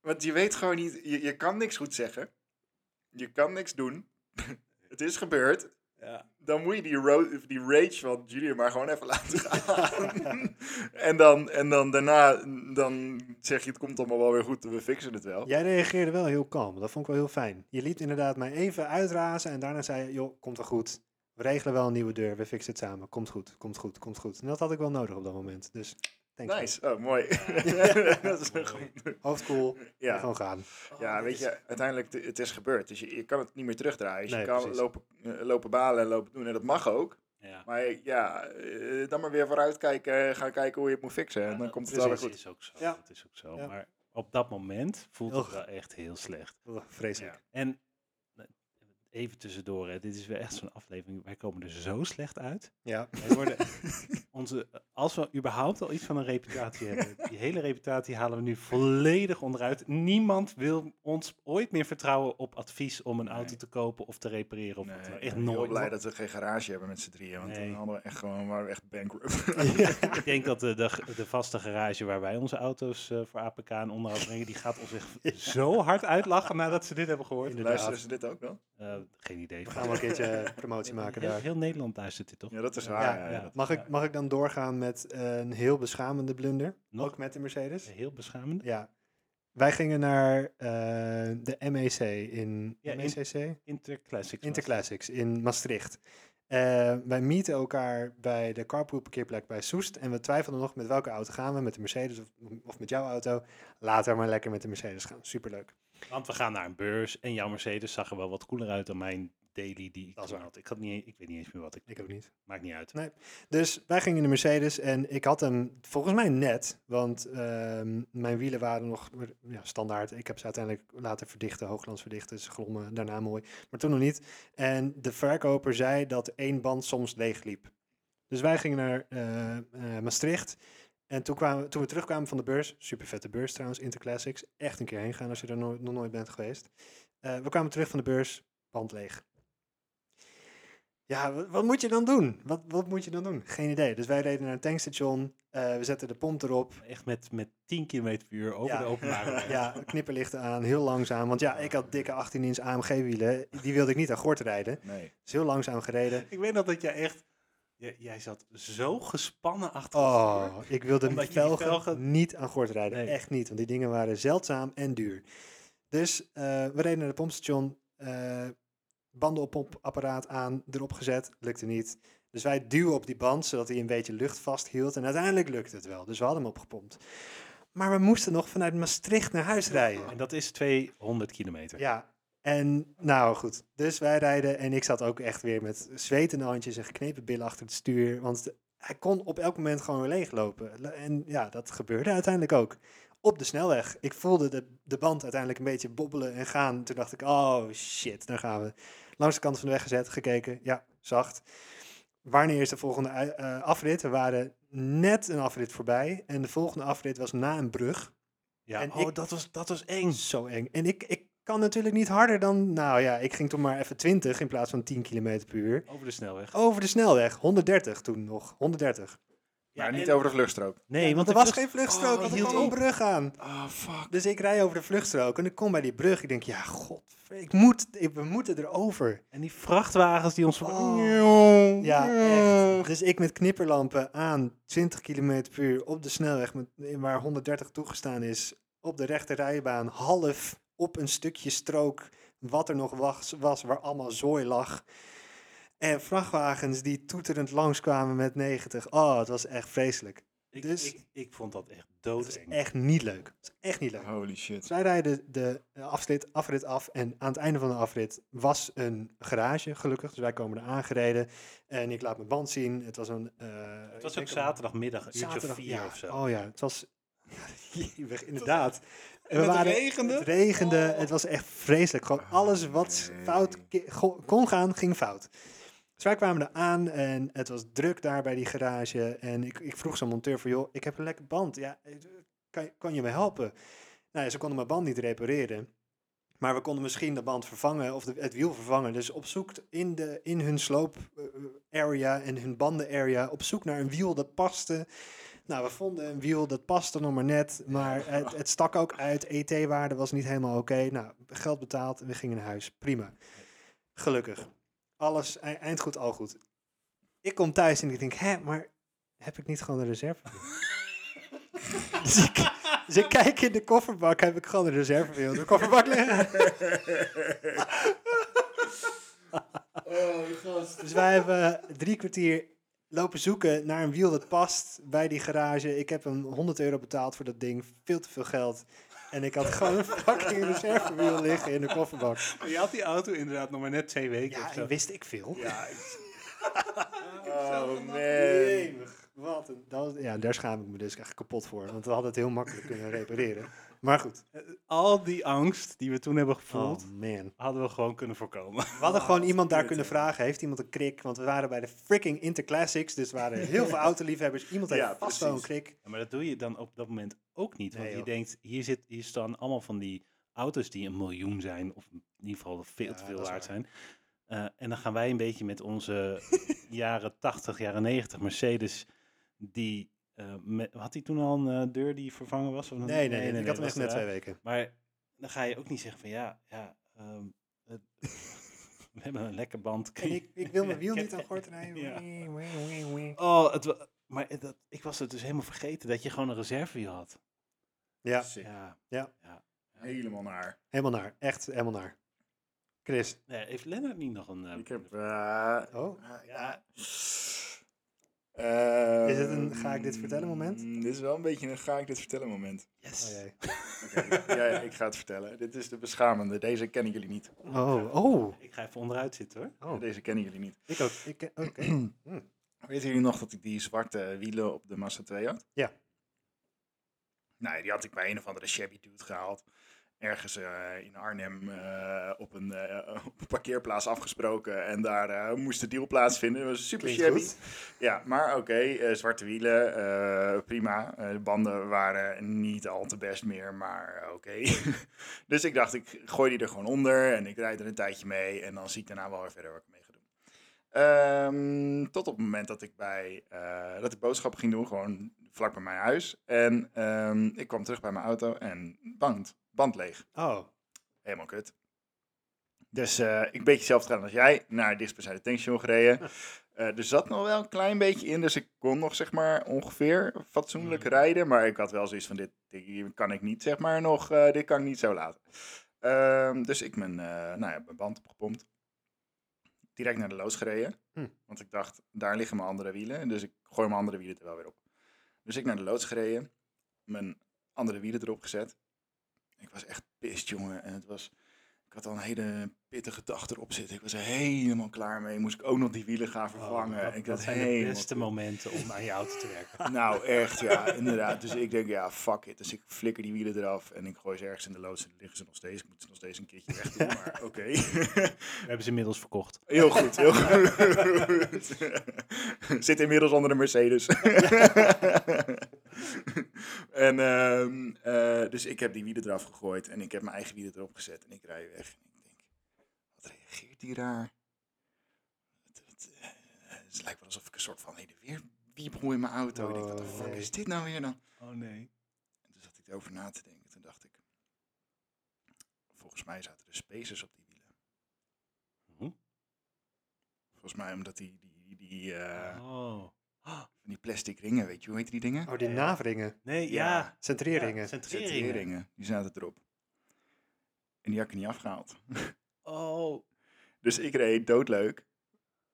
Speaker 1: Want je weet gewoon niet, je, je kan niks goed zeggen. Je kan niks doen. [LAUGHS] Het is gebeurd.
Speaker 2: Ja.
Speaker 1: Dan moet je die, ro- die rage van Julia maar gewoon even laten
Speaker 2: [LAUGHS]
Speaker 1: gaan. en, dan, en dan daarna, dan zeg je het komt allemaal wel weer goed, we fixen het wel.
Speaker 3: Jij reageerde wel heel kalm, dat vond ik wel heel fijn. Je liet inderdaad mij even uitrazen en daarna zei je, joh, komt wel goed. We regelen wel een nieuwe deur, we fixen het samen. Komt goed, komt goed, komt goed. En dat had ik wel nodig op dat moment. Dus, thanks. man.
Speaker 1: Nice, oh mooi. [LAUGHS] dat is een
Speaker 2: Mooi. Oh.
Speaker 1: goed-
Speaker 3: Hoofd cool,
Speaker 1: Ja.
Speaker 3: gewoon gaan.
Speaker 1: Ja, weet je, uiteindelijk, de- het is gebeurd. Dus je, je kan het niet meer terugdraaien. Dus
Speaker 3: Nee,
Speaker 1: je kan
Speaker 3: precies.
Speaker 1: lopen, eh, lopen balen en lopen doen. En dat mag ook.
Speaker 2: Ja.
Speaker 1: Maar ja, eh, dan maar weer vooruitkijken. eh, Gaan kijken hoe je het moet fixen. en dan
Speaker 2: dat-
Speaker 1: komt het
Speaker 2: dat
Speaker 1: wel weer
Speaker 2: is-
Speaker 1: goed.
Speaker 2: is ook zo.
Speaker 3: Ja.
Speaker 2: Dat is ook zo.
Speaker 3: Ja.
Speaker 2: Maar op dat moment voelt het
Speaker 3: Och.
Speaker 2: wel echt heel slecht.
Speaker 3: Ugh, Vreselijk.
Speaker 2: En eh, even tussendoor, hè, dit is weer echt zo'n aflevering. Wij komen er zo slecht uit.
Speaker 3: Ja.
Speaker 1: [LAUGHS]
Speaker 2: Wij worden onze, als we überhaupt al iets van een reputatie hebben, die hele reputatie halen we nu volledig onderuit. Niemand wil ons ooit meer vertrouwen op advies om een auto
Speaker 1: Nee.
Speaker 2: te kopen of te repareren. Of wat dan ook. echt
Speaker 1: ik ben heel
Speaker 2: nooit.
Speaker 1: blij dat we geen garage hebben met z'n drieën. Want
Speaker 2: Nee.
Speaker 1: dan hadden we echt gewoon, waren we echt bankrupt.
Speaker 2: Ik denk dat de, de, de vaste garage waar wij onze auto's eh, voor APK en onderhoud brengen, die gaat ons echt zo hard uitlachen nadat ze dit hebben gehoord.
Speaker 3: Inderdaad.
Speaker 1: Luisteren ze dit ook wel?
Speaker 2: Eh, geen idee.
Speaker 3: We gaan wel een keertje eh, promotie maken
Speaker 2: heel,
Speaker 3: daar.
Speaker 2: heel Nederland luistert dit toch?
Speaker 1: Ja, dat is waar.
Speaker 3: Ja,
Speaker 1: ja,
Speaker 2: ja.
Speaker 1: dat-
Speaker 3: Mag ik, mag ik dan doorgaan met eh, een heel beschamende blunder?
Speaker 2: Nog?
Speaker 3: Ook met de Mercedes?
Speaker 2: Heel beschamend.
Speaker 3: Ja. Wij gingen naar eh, de MEC in
Speaker 2: Ja, in-
Speaker 3: MECC?
Speaker 2: Interclassics.
Speaker 3: Interclassics in Maastricht. Eh, wij meeten elkaar bij de carpool parkeerplek bij Soest. En we twijfelden nog met welke auto gaan we. Met de Mercedes of, of met jouw auto. Later maar lekker met de Mercedes gaan. Superleuk.
Speaker 2: Want we gaan naar een beurs en jouw Mercedes zag er wel wat cooler uit dan mijn daily die ik
Speaker 3: Dat is
Speaker 2: toen
Speaker 3: waar.
Speaker 2: had. Ik, had niet, e- ik weet niet eens meer wat ik...
Speaker 3: Ik ook niet.
Speaker 2: Maakt niet uit.
Speaker 3: Dus wij gingen in de Mercedes en ik had hem volgens mij net, want ehm, mijn wielen waren nog ja, standaard. Ik heb ze uiteindelijk laten verdichten, hooglands verdichten, ze glommen daarna mooi, maar toen nog niet. En de verkoper zei dat één band soms leeg liep. Dus wij gingen naar eh, eh, Maastricht en toen, kwamen, toen we terugkwamen van de beurs, super vette beurs trouwens, Interclassics, echt een keer heen gaan als je er nooit- nog nooit bent geweest. Eh, we kwamen terug van de beurs, band leeg. Ja, wa- wat, moet je dan doen? Wat, wat moet je dan doen? Geen idee. Dus wij reden naar een tankstation. eh, we zetten de pomp erop.
Speaker 2: Echt met, met 10 km per uur over
Speaker 3: Ja.
Speaker 2: de openbare weg.
Speaker 3: Ja, knipperlichten aan, heel langzaam. Want ja, ik had dikke 18-inch AMG-wielen. Die wilde ik niet aan gort rijden.
Speaker 1: Nee.
Speaker 3: Dus heel langzaam gereden.
Speaker 2: Ik weet nog dat jij echt... Jij, jij zat zo gespannen achter het stuur.
Speaker 3: Oh, ik wilde
Speaker 2: Omdat
Speaker 3: die
Speaker 2: je die
Speaker 3: velgen
Speaker 2: velgen-
Speaker 3: niet aan gort rijden.
Speaker 2: Nee.
Speaker 3: Echt niet, want die dingen waren zeldzaam en duur. Dus eh, we reden naar de pompstation, eh, banden op pompapparaat aan, erop gezet, lukte niet. Dus wij duwen op die band, zodat hij een beetje lucht vasthield. En uiteindelijk lukte het wel, dus we hadden hem opgepompt. Maar we moesten nog vanuit Maastricht naar huis rijden.
Speaker 2: En dat is 200 kilometer.
Speaker 3: Ja, en nou goed. Dus wij rijden en ik zat ook echt weer met zwetende handjes en geknepen billen achter het stuur. Want de- hij kon op elk moment gewoon weer leeglopen. Le- En ja, dat gebeurde uiteindelijk ook. Op de snelweg. Ik voelde de, de band uiteindelijk een beetje bobbelen en gaan. Toen dacht ik, oh shit, daar gaan we. Langs de kant van de weg gezet, gekeken. Ja, zacht. Wanneer is de volgende ui- eh, afrit? We waren net een afrit voorbij. En de volgende afrit was na een brug.
Speaker 2: Ja,
Speaker 3: en
Speaker 2: oh,
Speaker 3: ik-
Speaker 2: dat, was, dat was eng.
Speaker 3: Zo eng. En ik, ik kan natuurlijk niet harder dan... Nou ja, ik ging toen maar even 20 in plaats van 10 km per uur.
Speaker 2: Over de snelweg.
Speaker 3: Over de snelweg. 130 toen nog. 130.
Speaker 1: Maar
Speaker 2: Ja,
Speaker 1: niet
Speaker 2: en-
Speaker 1: over de vluchtstrook.
Speaker 2: Nee, want
Speaker 3: er
Speaker 2: de
Speaker 3: was
Speaker 2: vlucht-
Speaker 3: geen vluchtstrook.
Speaker 1: Oh,
Speaker 3: want er
Speaker 1: hield
Speaker 3: kwam een
Speaker 1: op.
Speaker 3: brug aan.
Speaker 1: Oh, fuck.
Speaker 3: Dus ik rij over de vluchtstrook en ik kom bij die brug. Ik denk, ja, god, ik moet, ik, we moeten erover.
Speaker 2: En die vrachtwagens die ons...
Speaker 3: Oh. Ja, echt. Dus ik met knipperlampen aan 20 km per uur op de snelweg met, waar 130 toegestaan is, op de rechte rijbaan, half op een stukje strook, wat er nog was, was waar allemaal zooi lag. En vrachtwagens die toeterend langskwamen met 90. Oh, het was echt vreselijk.
Speaker 2: Ik,
Speaker 3: Dus-
Speaker 2: ik, ik vond dat echt
Speaker 3: Het was
Speaker 2: doodeng.
Speaker 3: echt niet leuk. Het was echt niet leuk.
Speaker 1: Holy shit.
Speaker 3: Dus wij rijden de eh, afrit, afrit af en aan het einde van de afrit was een garage, gelukkig. Dus wij komen er aangereden en ik laat mijn band zien. Het was een... eh,
Speaker 2: Het
Speaker 3: ik
Speaker 2: was ook
Speaker 3: denk
Speaker 2: zaterdagmiddag, een
Speaker 3: een
Speaker 2: uurtje of
Speaker 3: zaterdag-
Speaker 2: vier
Speaker 3: ja.
Speaker 2: of zo.
Speaker 3: Oh ja, het was... [LAUGHS] Jeeuwig, inderdaad. En
Speaker 2: het regende?
Speaker 3: Het regende,
Speaker 2: Oh.
Speaker 3: het was echt vreselijk. Gewoon alles wat
Speaker 1: Nee.
Speaker 3: fout ki- go- kon gaan, ging fout. Dus wij kwamen er aan en het was druk daar bij die garage. En ik, ik vroeg zo'n monteur van, joh, ik heb een lekker band. Ja, eh, kan, je- kan je me helpen? Nou ja, ze konden mijn band niet repareren. Maar we konden misschien de band vervangen of de, het wiel vervangen. Dus op zoek in, de, in hun sloop eh, area en hun banden area, op zoek naar een wiel dat paste. Nou, we vonden een wiel dat paste nog maar net. Maar het, het stak ook uit. ET-waarde was niet helemaal oké. Nou, geld betaald en we gingen naar huis. Prima. Gelukkig. Alles e- eind goed, al goed. Ik kom thuis en ik denk, hè, maar heb ik niet gewoon de reserve? dus, ik, dus ik kijk in de kofferbak, heb ik gewoon de reserve in de kofferbak liggen.
Speaker 1: Oh, gast.
Speaker 3: Dus wij hebben drie kwartier lopen zoeken naar een wiel dat past bij die garage. Ik heb hem 100 euro betaald voor dat ding. Veel te veel geld. En ik had gewoon een fucking reservewiel liggen in de kofferbak.
Speaker 2: Je had die auto inderdaad nog maar net twee weken
Speaker 3: Ja, wist ik veel. [LAUGHS]
Speaker 1: Ja, ik-
Speaker 3: Oh,
Speaker 1: oh,
Speaker 3: man.
Speaker 1: man.
Speaker 3: Wat een, dat was- ja, daar schaam ik me dus echt kapot voor. Want we hadden het heel makkelijk kunnen repareren. Maar goed.
Speaker 2: Al die angst die we toen hebben gevoeld,
Speaker 3: Oh man. Oh,
Speaker 2: hadden we gewoon kunnen voorkomen.
Speaker 3: We hadden gewoon iemand daar
Speaker 1: irritant.
Speaker 3: kunnen vragen. Heeft iemand een krik? Want we waren bij de freaking Interclassics. Dus er waren heel [LAUGHS] veel autoliefhebbers. Iemand heeft
Speaker 1: Ja,
Speaker 3: vast wel een
Speaker 1: precies.
Speaker 3: krik.
Speaker 2: Ja, maar dat doe je dan op dat moment ook niet. Want
Speaker 3: Nee,
Speaker 2: je
Speaker 3: joh.
Speaker 2: denkt, hier, zit, hier staan allemaal van die auto's die een miljoen zijn. Of in ieder geval veel
Speaker 3: Ja,
Speaker 2: te
Speaker 3: dat
Speaker 2: veel
Speaker 3: is
Speaker 2: waard
Speaker 3: waar.
Speaker 2: zijn. Eh, en dan gaan wij een beetje met onze [LAUGHS] jaren 80, jaren 90 Mercedes. Die, eh, met- had hij toen al een eh, deur die vervangen was? Of een-
Speaker 3: Nee, nee, nee. ik had
Speaker 2: dat
Speaker 3: hem
Speaker 2: was
Speaker 3: echt net
Speaker 2: eraan.
Speaker 3: twee weken.
Speaker 2: Maar dan ga je ook niet zeggen van ja, ja ehm, het- [LAUGHS] we hebben een lekker band.
Speaker 3: En ik, ik wil mijn wiel niet aan gort [LAUGHS]
Speaker 2: Ja.
Speaker 3: rijden.
Speaker 2: Oh, het, wa- maar dat, ik was het dus helemaal vergeten dat je gewoon een reservewiel had.
Speaker 3: Ja,
Speaker 1: Sick.
Speaker 2: Ja.
Speaker 1: Helemaal naar.
Speaker 3: helemaal naar. Echt helemaal naar. Chris.
Speaker 2: Nee, heeft Lennart niet nog een... eh,
Speaker 1: Ik heb... eh,
Speaker 3: Oh,
Speaker 1: Ah, Ja. Eh,
Speaker 3: Is het een ga ik dit vertellen moment?
Speaker 1: mm, Dit is wel een beetje een ga ik dit vertellen moment. [LAUGHS]
Speaker 3: oh
Speaker 2: Yes.
Speaker 3: jee.
Speaker 1: Oké, ja, ja, ik ga het vertellen. Dit is de beschamende. Deze kennen jullie niet.
Speaker 3: Oh, oh.
Speaker 2: Ik ga even onderuit zitten hoor.
Speaker 3: Oh.
Speaker 1: Deze kennen jullie niet.
Speaker 3: Ik ook. Ik, Oké.
Speaker 1: [CLEARS THROAT] Weten jullie nog dat ik die zwarte wielen op de Mazda 2 had?
Speaker 3: Ja.
Speaker 1: Nee, die had ik bij een of andere shabby dude gehaald. Ergens eh, in Arnhem eh, op, een, eh, [LAUGHS] op een parkeerplaats afgesproken. En daar eh, moest de deal plaatsvinden. Dat was super
Speaker 3: Klinkt
Speaker 1: shabby.
Speaker 3: goed.
Speaker 1: Ja, maar oké, eh, zwarte wielen, eh, prima. Eh, de banden waren niet al te best meer, maar eh, oké. [LAUGHS] dus ik dacht, ik gooi die er gewoon onder en ik rijd er een tijdje mee. En dan zie ik daarna wel weer verder wat ik mee ga doen. Ehm, tot op het moment dat ik, bij, eh, dat ik boodschappen ging doen, gewoon vlak bij mijn huis. En ehm, ik kwam terug bij mijn auto en band, band leeg.
Speaker 3: Oh,
Speaker 1: Helemaal kut. Dus eh, ik een beetje hetzelfde gedaan als jij. Naar het dichtstbijzijnde tankstation gereden. Eh, er zat nog wel een klein beetje in. Dus ik kon nog zeg maar ongeveer fatsoenlijk rijden. Maar ik had wel zoiets van dit, dit kan ik niet zeg maar nog. eh, dit kan ik niet zo laten. Ehm, dus ik mijn, eh, nou ja, mijn band opgepompt. Direct naar de loods gereden.
Speaker 3: Hm.
Speaker 1: Want ik dacht, daar liggen mijn andere wielen. Dus ik gooi mijn andere wielen er wel weer op. Dus ik naar de loods gereden. Mijn andere wielen erop gezet. Ik was echt pist, jongen. En het was... Ik had al een hele pittige dag erop zitten. Ik was er helemaal klaar mee. Moest ik ook nog die wielen gaan vervangen.
Speaker 2: Oh, dat,
Speaker 1: ik
Speaker 2: dat
Speaker 1: had
Speaker 2: zijn de
Speaker 1: helemaal
Speaker 2: beste
Speaker 1: toe.
Speaker 2: momenten om aan je auto te
Speaker 1: [LAUGHS]
Speaker 2: werken.
Speaker 1: Nou, echt, ja, inderdaad. Dus ik denk, ja, fuck it. Dus ik flikker die wielen eraf en ik gooi ze ergens in de loods en liggen ze nog steeds. Ik moet ze nog steeds een keertje weg doen, maar oké.
Speaker 2: We hebben ze inmiddels verkocht.
Speaker 1: heel goed,
Speaker 3: [LAUGHS]
Speaker 1: heel goed. [LAUGHS] Zit inmiddels onder de
Speaker 3: [LAUGHS]
Speaker 1: Mercedes. [LAUGHS] en ehm, eh, dus ik heb die wielen eraf gegooid en ik heb mijn eigen wielen erop gezet en ik rij weg. En ik denk, wat reageert die raar? Het, het, eh, het lijkt wel alsof ik een soort van heen en weer wiep hoor in mijn auto. ik denk, wat de
Speaker 3: Oh,
Speaker 1: fuck
Speaker 3: nee.
Speaker 1: is dit nou weer dan?
Speaker 2: Oh nee.
Speaker 1: En toen zat ik erover na te denken. Toen dacht ik, volgens mij zaten er spacers op die wielen.
Speaker 2: Hm?
Speaker 1: Volgens mij omdat die, die, die, eh,
Speaker 2: Oh. Ah,
Speaker 1: van die plastic ringen, weet je, hoe heet die dingen?
Speaker 3: Oh, die
Speaker 2: Ja.
Speaker 3: naveringen.
Speaker 2: Nee, ja.
Speaker 3: Centreringen.
Speaker 2: ja,
Speaker 1: Centreringen.
Speaker 2: centreringen.
Speaker 1: die zaten erop. En die had ik er niet afgehaald.
Speaker 2: Oh.
Speaker 1: Dus ik reed doodleuk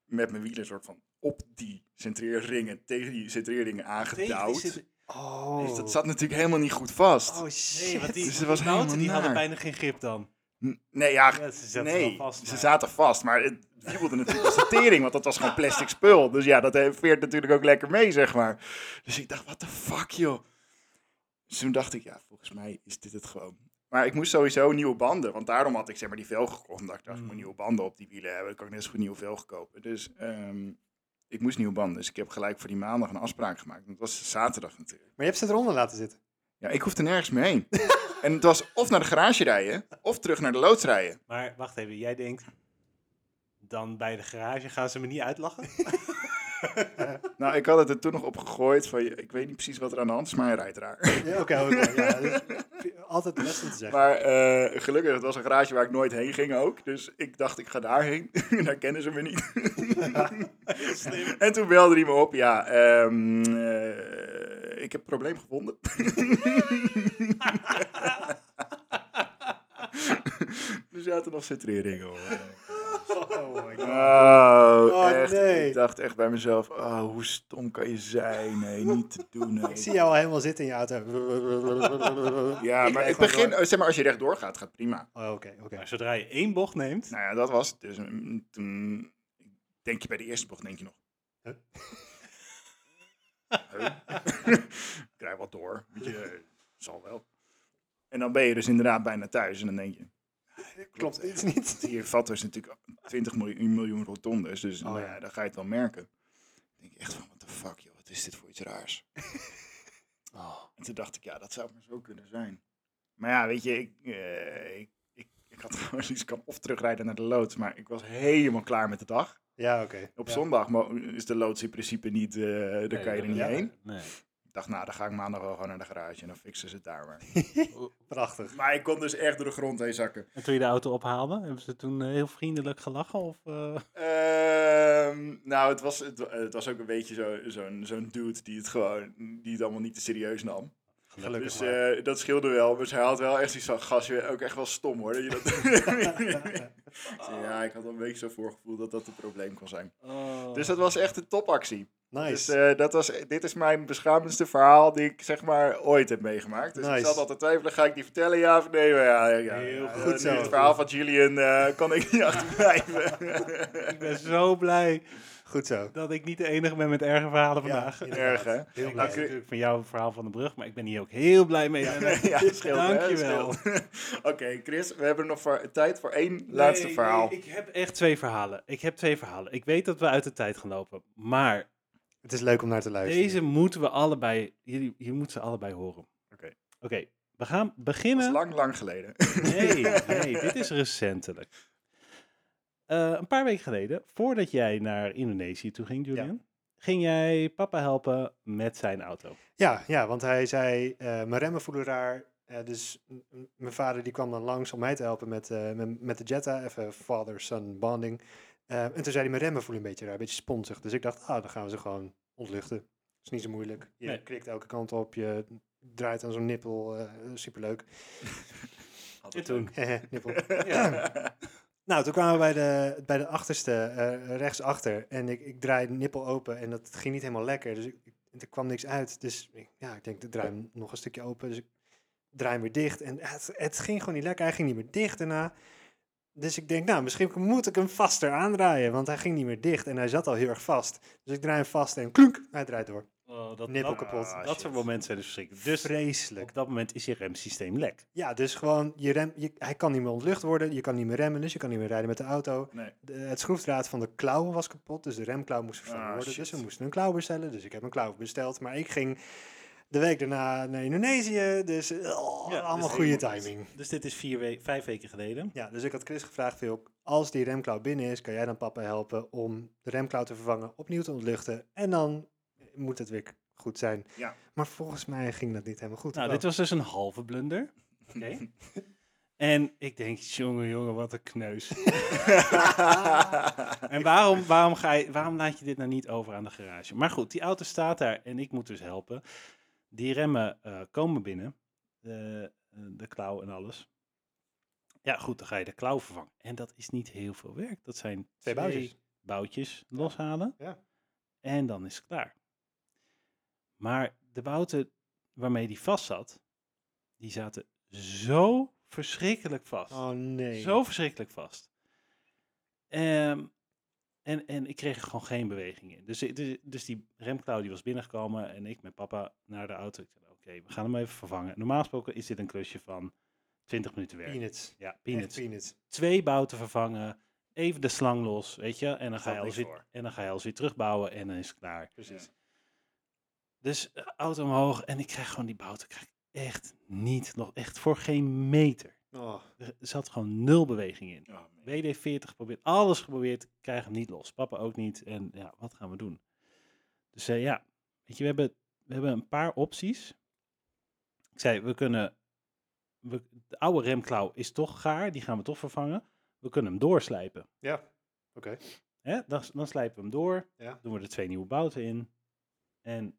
Speaker 1: met mijn wielen soort van op die centreerringen, tegen die centreerringen
Speaker 2: Tegen
Speaker 1: aangedouwd.
Speaker 2: die zitten-
Speaker 3: oh.
Speaker 1: Dus dat zat natuurlijk helemaal niet goed vast.
Speaker 3: Oh, shit.
Speaker 1: [LAUGHS]
Speaker 2: Nee, want die,
Speaker 1: Dus het was
Speaker 2: die auto die
Speaker 1: helemaal
Speaker 2: hadden
Speaker 1: naar.
Speaker 2: bijna geen grip dan.
Speaker 1: N- Nee, ja,
Speaker 2: Ja, ze zaten
Speaker 1: nee,
Speaker 2: wel vast,
Speaker 1: ze
Speaker 2: maar-
Speaker 1: zaten vast, maar het wiebelde natuurlijk als de tering, want dat was gewoon plastic spul. Dus ja, dat eh, veert natuurlijk ook lekker mee, zeg maar. Dus ik dacht, wat the fuck, joh. Dus toen dacht ik, ja, volgens mij is dit het gewoon. Maar ik moest sowieso nieuwe banden, want daarom had ik zeg maar die vel gekocht. Omdat ik dacht, ik moet
Speaker 2: Mm.
Speaker 1: nieuwe banden op die wielen hebben, dan kan ik net zo goed nieuwe velg kopen. Dus ehm, ik moest nieuwe banden, dus ik heb gelijk voor die maandag een afspraak gemaakt. Dat was zaterdag natuurlijk.
Speaker 3: Maar je hebt ze eronder laten zitten.
Speaker 1: Ja, ik hoefde nergens meer
Speaker 2: [LAUGHS]
Speaker 1: heen. en het was of naar de garage rijden, of terug naar de loods rijden.
Speaker 2: Maar wacht even, jij denkt... Dan bij de garage gaan ze me niet uitlachen?
Speaker 1: Nou, ik had het er toen nog op gegooid van, ik weet niet precies wat er aan de hand is, maar hij rijdt raar.
Speaker 3: Ja, Oké, oké. [LAUGHS] ja, dus altijd het beste te zeggen.
Speaker 1: Maar eh, gelukkig, het was een garage waar ik nooit heen ging ook. Dus ik dacht, ik ga daarheen. [LAUGHS] Daar kennen ze me niet. En toen belde hij me op, ja, ehm, eh, ik heb het probleem gevonden. [LAUGHS] er zaten nog centreringen hoor.
Speaker 3: Oh my god.
Speaker 1: Oh,
Speaker 3: Oh,
Speaker 1: echt.
Speaker 3: nee.
Speaker 1: Ik dacht echt bij mezelf, oh, hoe stom kan je zijn? Nee, niet te doen.
Speaker 3: Ik
Speaker 1: nee.
Speaker 3: zie jou al helemaal zitten in je auto.
Speaker 1: Ja, maar
Speaker 3: rijd
Speaker 1: ik
Speaker 3: gewoon
Speaker 1: begin,
Speaker 3: door.
Speaker 1: eh, zeg maar, als je rechtdoor gaat, gaat prima.
Speaker 3: Oh, Oké, oké.
Speaker 2: Maar zodra je één bocht neemt...
Speaker 1: Nou ja, dat was het. Dus mm, toen denk je bij de eerste bocht, denk je nog.
Speaker 3: Huh?
Speaker 1: Huh? [LAUGHS] Ik Krijg wat door. Weet je, eh, zal wel. En dan ben je dus inderdaad bijna thuis en dan denk je,
Speaker 3: [LAUGHS] Klopt iets niet.
Speaker 1: hier vat dus natuurlijk 20 miljoen, miljoen rotondes, dus
Speaker 3: Oh
Speaker 1: nou
Speaker 3: ja.
Speaker 1: ja, dan ga je het wel merken. Dan denk je echt van, what the fuck joh, wat is dit voor iets raars?
Speaker 3: [LAUGHS] Oh.
Speaker 1: En toen dacht ik, ja, dat zou maar zo kunnen zijn. Maar ja, weet je, ik, eh, ik, ik, ik had [LAUGHS] gewoon zoiets, ik kan of terugrijden naar de loods, maar ik was helemaal klaar met de dag.
Speaker 3: Ja, oké.
Speaker 1: Op
Speaker 3: Ja.
Speaker 1: zondag mo- is de loods in principe niet, eh, daar kan je er niet
Speaker 3: ja.
Speaker 1: heen.
Speaker 2: Nee.
Speaker 1: Ik dacht, nou, dan ga ik maandag wel gewoon naar de garage en dan fixen ze het daar maar.
Speaker 3: Prachtig.
Speaker 1: maar ik kon dus echt door de grond heen zakken.
Speaker 2: En toen je de auto ophaalde, hebben ze toen eh, heel vriendelijk gelachen? Of, eh?
Speaker 1: Ehm, nou, het was, het, wa- het was ook een beetje zo- zo'n zo'n dude die het gewoon, die het allemaal niet te serieus nam.
Speaker 3: Gelukkig
Speaker 1: Dus
Speaker 3: maar.
Speaker 1: eh, dat scheelde wel. Maar ze had wel echt iets van gasje. Ook echt wel stom hoor. Dat [LAUGHS] je dat... Ik zei, Ja, ik had al een beetje zo'n voorgevoel dat dat een probleem kon zijn. Dus dat was echt een topactie. Dus
Speaker 3: Nice.
Speaker 1: eh, dat was, dit is mijn beschamendste verhaal die ik zeg maar ooit heb meegemaakt. Dus ik
Speaker 3: Nice.
Speaker 1: zat altijd twijfelen, ga ik die vertellen? Ja of nee? Maar ja, ja, ja,
Speaker 2: Heel
Speaker 1: ja,
Speaker 3: goed
Speaker 1: nu
Speaker 3: zo.
Speaker 1: Het verhaal van Julian eh, kan ik niet [LAUGHS] achterblijven.
Speaker 3: [LAUGHS]
Speaker 2: Ik ben zo blij
Speaker 3: Goed zo.
Speaker 2: dat ik niet de enige ben met erge verhalen
Speaker 3: Ja,
Speaker 2: vandaag.
Speaker 3: inderdaad.
Speaker 1: Erg hè?
Speaker 3: Heel
Speaker 2: ik
Speaker 3: blij.
Speaker 2: was natuurlijk van jouw verhaal van de brug, maar ik ben hier ook heel blij mee. [LAUGHS] eh, Lennart.
Speaker 1: [LAUGHS] Ja, dat scheelt. hè, dat
Speaker 2: Dankjewel.
Speaker 1: scheelt. [LAUGHS] Oké, Chris, we hebben nog voor, tijd voor één laatste
Speaker 2: Nee,
Speaker 1: verhaal.
Speaker 2: nee, ik heb echt twee verhalen. Ik heb twee verhalen. Ik weet dat we uit de tijd gaan lopen, maar
Speaker 3: Het is leuk om naar te luisteren.
Speaker 2: deze moeten we allebei, jullie, jullie moeten ze allebei horen.
Speaker 1: Oké.
Speaker 2: Oké, we gaan
Speaker 1: Dat is
Speaker 2: beginnen.
Speaker 1: lang, lang geleden. [LAUGHS]
Speaker 3: [LAUGHS]
Speaker 2: Nee, nee, dit is recentelijk. Eh, een paar weken geleden, voordat jij naar Indonesië toe ging, Julian, ging jij papa helpen met zijn auto.
Speaker 3: Ja, ja, want hij zei, eh, mijn remmen voelen raar. Eh, dus m- m- mijn vader die kwam dan langs om mij te helpen met, eh, met, met de Jetta, even father-son bonding. Eh, en toen zei hij, mijn remmen voelen een beetje raar, een beetje sponsig. Dus ik dacht, ah, dan gaan we ze gewoon ontluchten. is niet zo moeilijk. Je
Speaker 2: Nee.
Speaker 3: krikt elke kant op, je draait aan zo'n nippel, eh superleuk.
Speaker 1: Altijd
Speaker 2: Dit doen.
Speaker 1: leuk.
Speaker 2: [LAUGHS]
Speaker 3: [LAUGHS] Nippel. Nou, toen kwamen we bij de, bij de achterste, eh, rechtsachter. En ik, ik draai de nippel open en dat ging niet helemaal lekker. Dus ik, ik- er kwam niks uit. Dus ik, ja, ik denk, ik draai hem nog een stukje open. Dus ik draai hem weer dicht. En het, het ging gewoon niet lekker. Hij ging niet meer dicht daarna. Dus ik denk, nou, misschien moet ik hem vaster aandraaien. Want hij ging niet meer dicht en hij zat al heel erg vast. Dus ik draai hem vast en klunk, hij draait door.
Speaker 2: Oh, dat,
Speaker 3: Nippel
Speaker 2: dat,
Speaker 3: kapot.
Speaker 1: Ah,
Speaker 2: dat
Speaker 1: shit.
Speaker 2: soort momenten zijn dus verschrikkelijk. Dus
Speaker 3: Vreselijk.
Speaker 2: op dat moment is je remsysteem lek.
Speaker 3: Ja, dus gewoon, je rem, je, hij kan niet meer ontlucht worden. Je kan niet meer remmen, dus je kan niet meer rijden met de
Speaker 1: [LAUGHS]
Speaker 3: auto.
Speaker 1: Nee.
Speaker 3: De- het schroefdraad van de klauwen was kapot, dus de remklauw moest vervangen
Speaker 1: Ah,
Speaker 3: worden.
Speaker 1: shit.
Speaker 3: Dus we moesten een klauw bestellen, dus ik heb een klauw besteld. Maar ik ging de week daarna naar Indonesië, dus oh, allemaal
Speaker 2: dus
Speaker 3: goede
Speaker 1: ik-
Speaker 3: timing.
Speaker 2: Dus dit is vier we- vijf weken geleden.
Speaker 3: Ja, dus ik had Chris gevraagd, "Wil, als die remklauw binnen is, kan jij dan papa helpen om de remklauw te vervangen, opnieuw te ontluchten en dan moet het weer goed zijn.
Speaker 1: Ja.
Speaker 3: Maar volgens mij ging dat niet helemaal goed.
Speaker 2: Nou,
Speaker 3: Oh.
Speaker 2: dit was dus een halve blunder. Oké. [LAUGHS] en ik denk, jongen, jongen, wat een kneus. En waarom, waarom, ga je, waarom laat je dit nou niet over aan de garage? Maar goed, die auto staat daar en ik moet dus helpen. Die remmen eh, komen binnen, de, eh, de klauw en alles. Ja, goed, dan ga je de klauw vervangen. En dat is niet heel veel werk. Dat zijn
Speaker 3: Twee boutjes.
Speaker 2: boutjes loshalen.
Speaker 3: Ja.
Speaker 2: En dan is het klaar. Maar de bouten waarmee die vast zat, die zaten zo verschrikkelijk vast.
Speaker 3: Oh nee.
Speaker 2: Zo verschrikkelijk vast. Ehm, en, en ik kreeg er gewoon geen beweging in. Dus, ik- dus, dus die remklauw die was binnengekomen en ik met papa naar de auto. Ik zei, oké, we gaan hem even vervangen. Normaal gesproken is dit een klusje van 20 minuten werk.
Speaker 3: Peanuts.
Speaker 2: Ja, peanuts.
Speaker 3: Peanuts. Peanuts.
Speaker 2: Twee bouten vervangen, even de slang los, weet je. En dan, ga
Speaker 1: Gaat
Speaker 2: je alles
Speaker 1: niks
Speaker 2: weer,
Speaker 1: voor.
Speaker 2: en dan ga je alles weer terugbouwen en dan is het klaar.
Speaker 3: Precies.
Speaker 2: Dus eh, auto omhoog en ik krijg gewoon die bouten. Krijg ik echt niet, nog echt voor geen meter.
Speaker 3: Oh,
Speaker 2: Er zat gewoon nul beweging in.
Speaker 1: Ja, Oh, man.
Speaker 2: WD-40 geprobeerd, alles geprobeerd, krijg hem niet los. Papa ook niet. En ja, wat gaan we doen? Dus eh, ja, weet je, we hebben, we hebben een paar opties. Ik zei, we kunnen... We, de oude remklauw is toch gaar, die gaan we toch vervangen. We kunnen hem doorslijpen.
Speaker 3: ja. Oké.
Speaker 2: Hè? Dan, dan slijpen we hem door,
Speaker 3: Ja.
Speaker 2: doen we er twee nieuwe bouten in en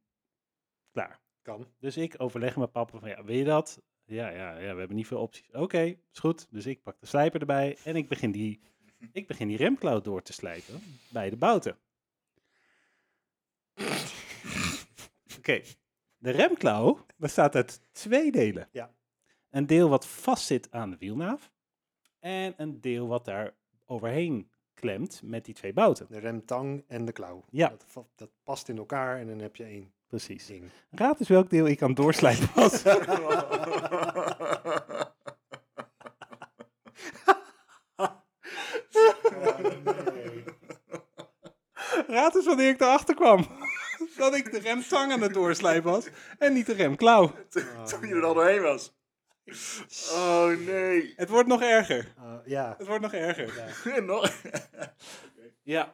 Speaker 2: klaar.
Speaker 3: Kan.
Speaker 2: Dus ik overleg met papa van, ja, wil je dat? Ja, ja, ja, we hebben niet veel opties. Oké, is goed. Dus ik pak de slijper erbij en ik begin die, ik begin die remklauw door te slijpen bij de bouten. Oké, de remklauw bestaat uit twee delen.
Speaker 3: Ja.
Speaker 2: Een deel wat vastzit aan de wielnaaf en een deel wat daar overheen klemt met die twee bouten.
Speaker 3: De remtang en de klauw.
Speaker 2: Ja.
Speaker 3: Dat, va- dat past in elkaar en dan heb je één
Speaker 2: Precies.
Speaker 3: ding.
Speaker 2: Raad eens welk deel ik aan het doorslijpen was. Raad eens wanneer ik erachter kwam. [LAUGHS] Dat ik de remtang aan het doorslijpen was en niet de remklauw. Oh,
Speaker 1: [LAUGHS] Toen je er al doorheen was. Oh nee. [LAUGHS]
Speaker 2: Het wordt nog erger.
Speaker 3: Eh, ja.
Speaker 2: Het wordt nog erger.
Speaker 1: Nog.
Speaker 2: Oh, Ja.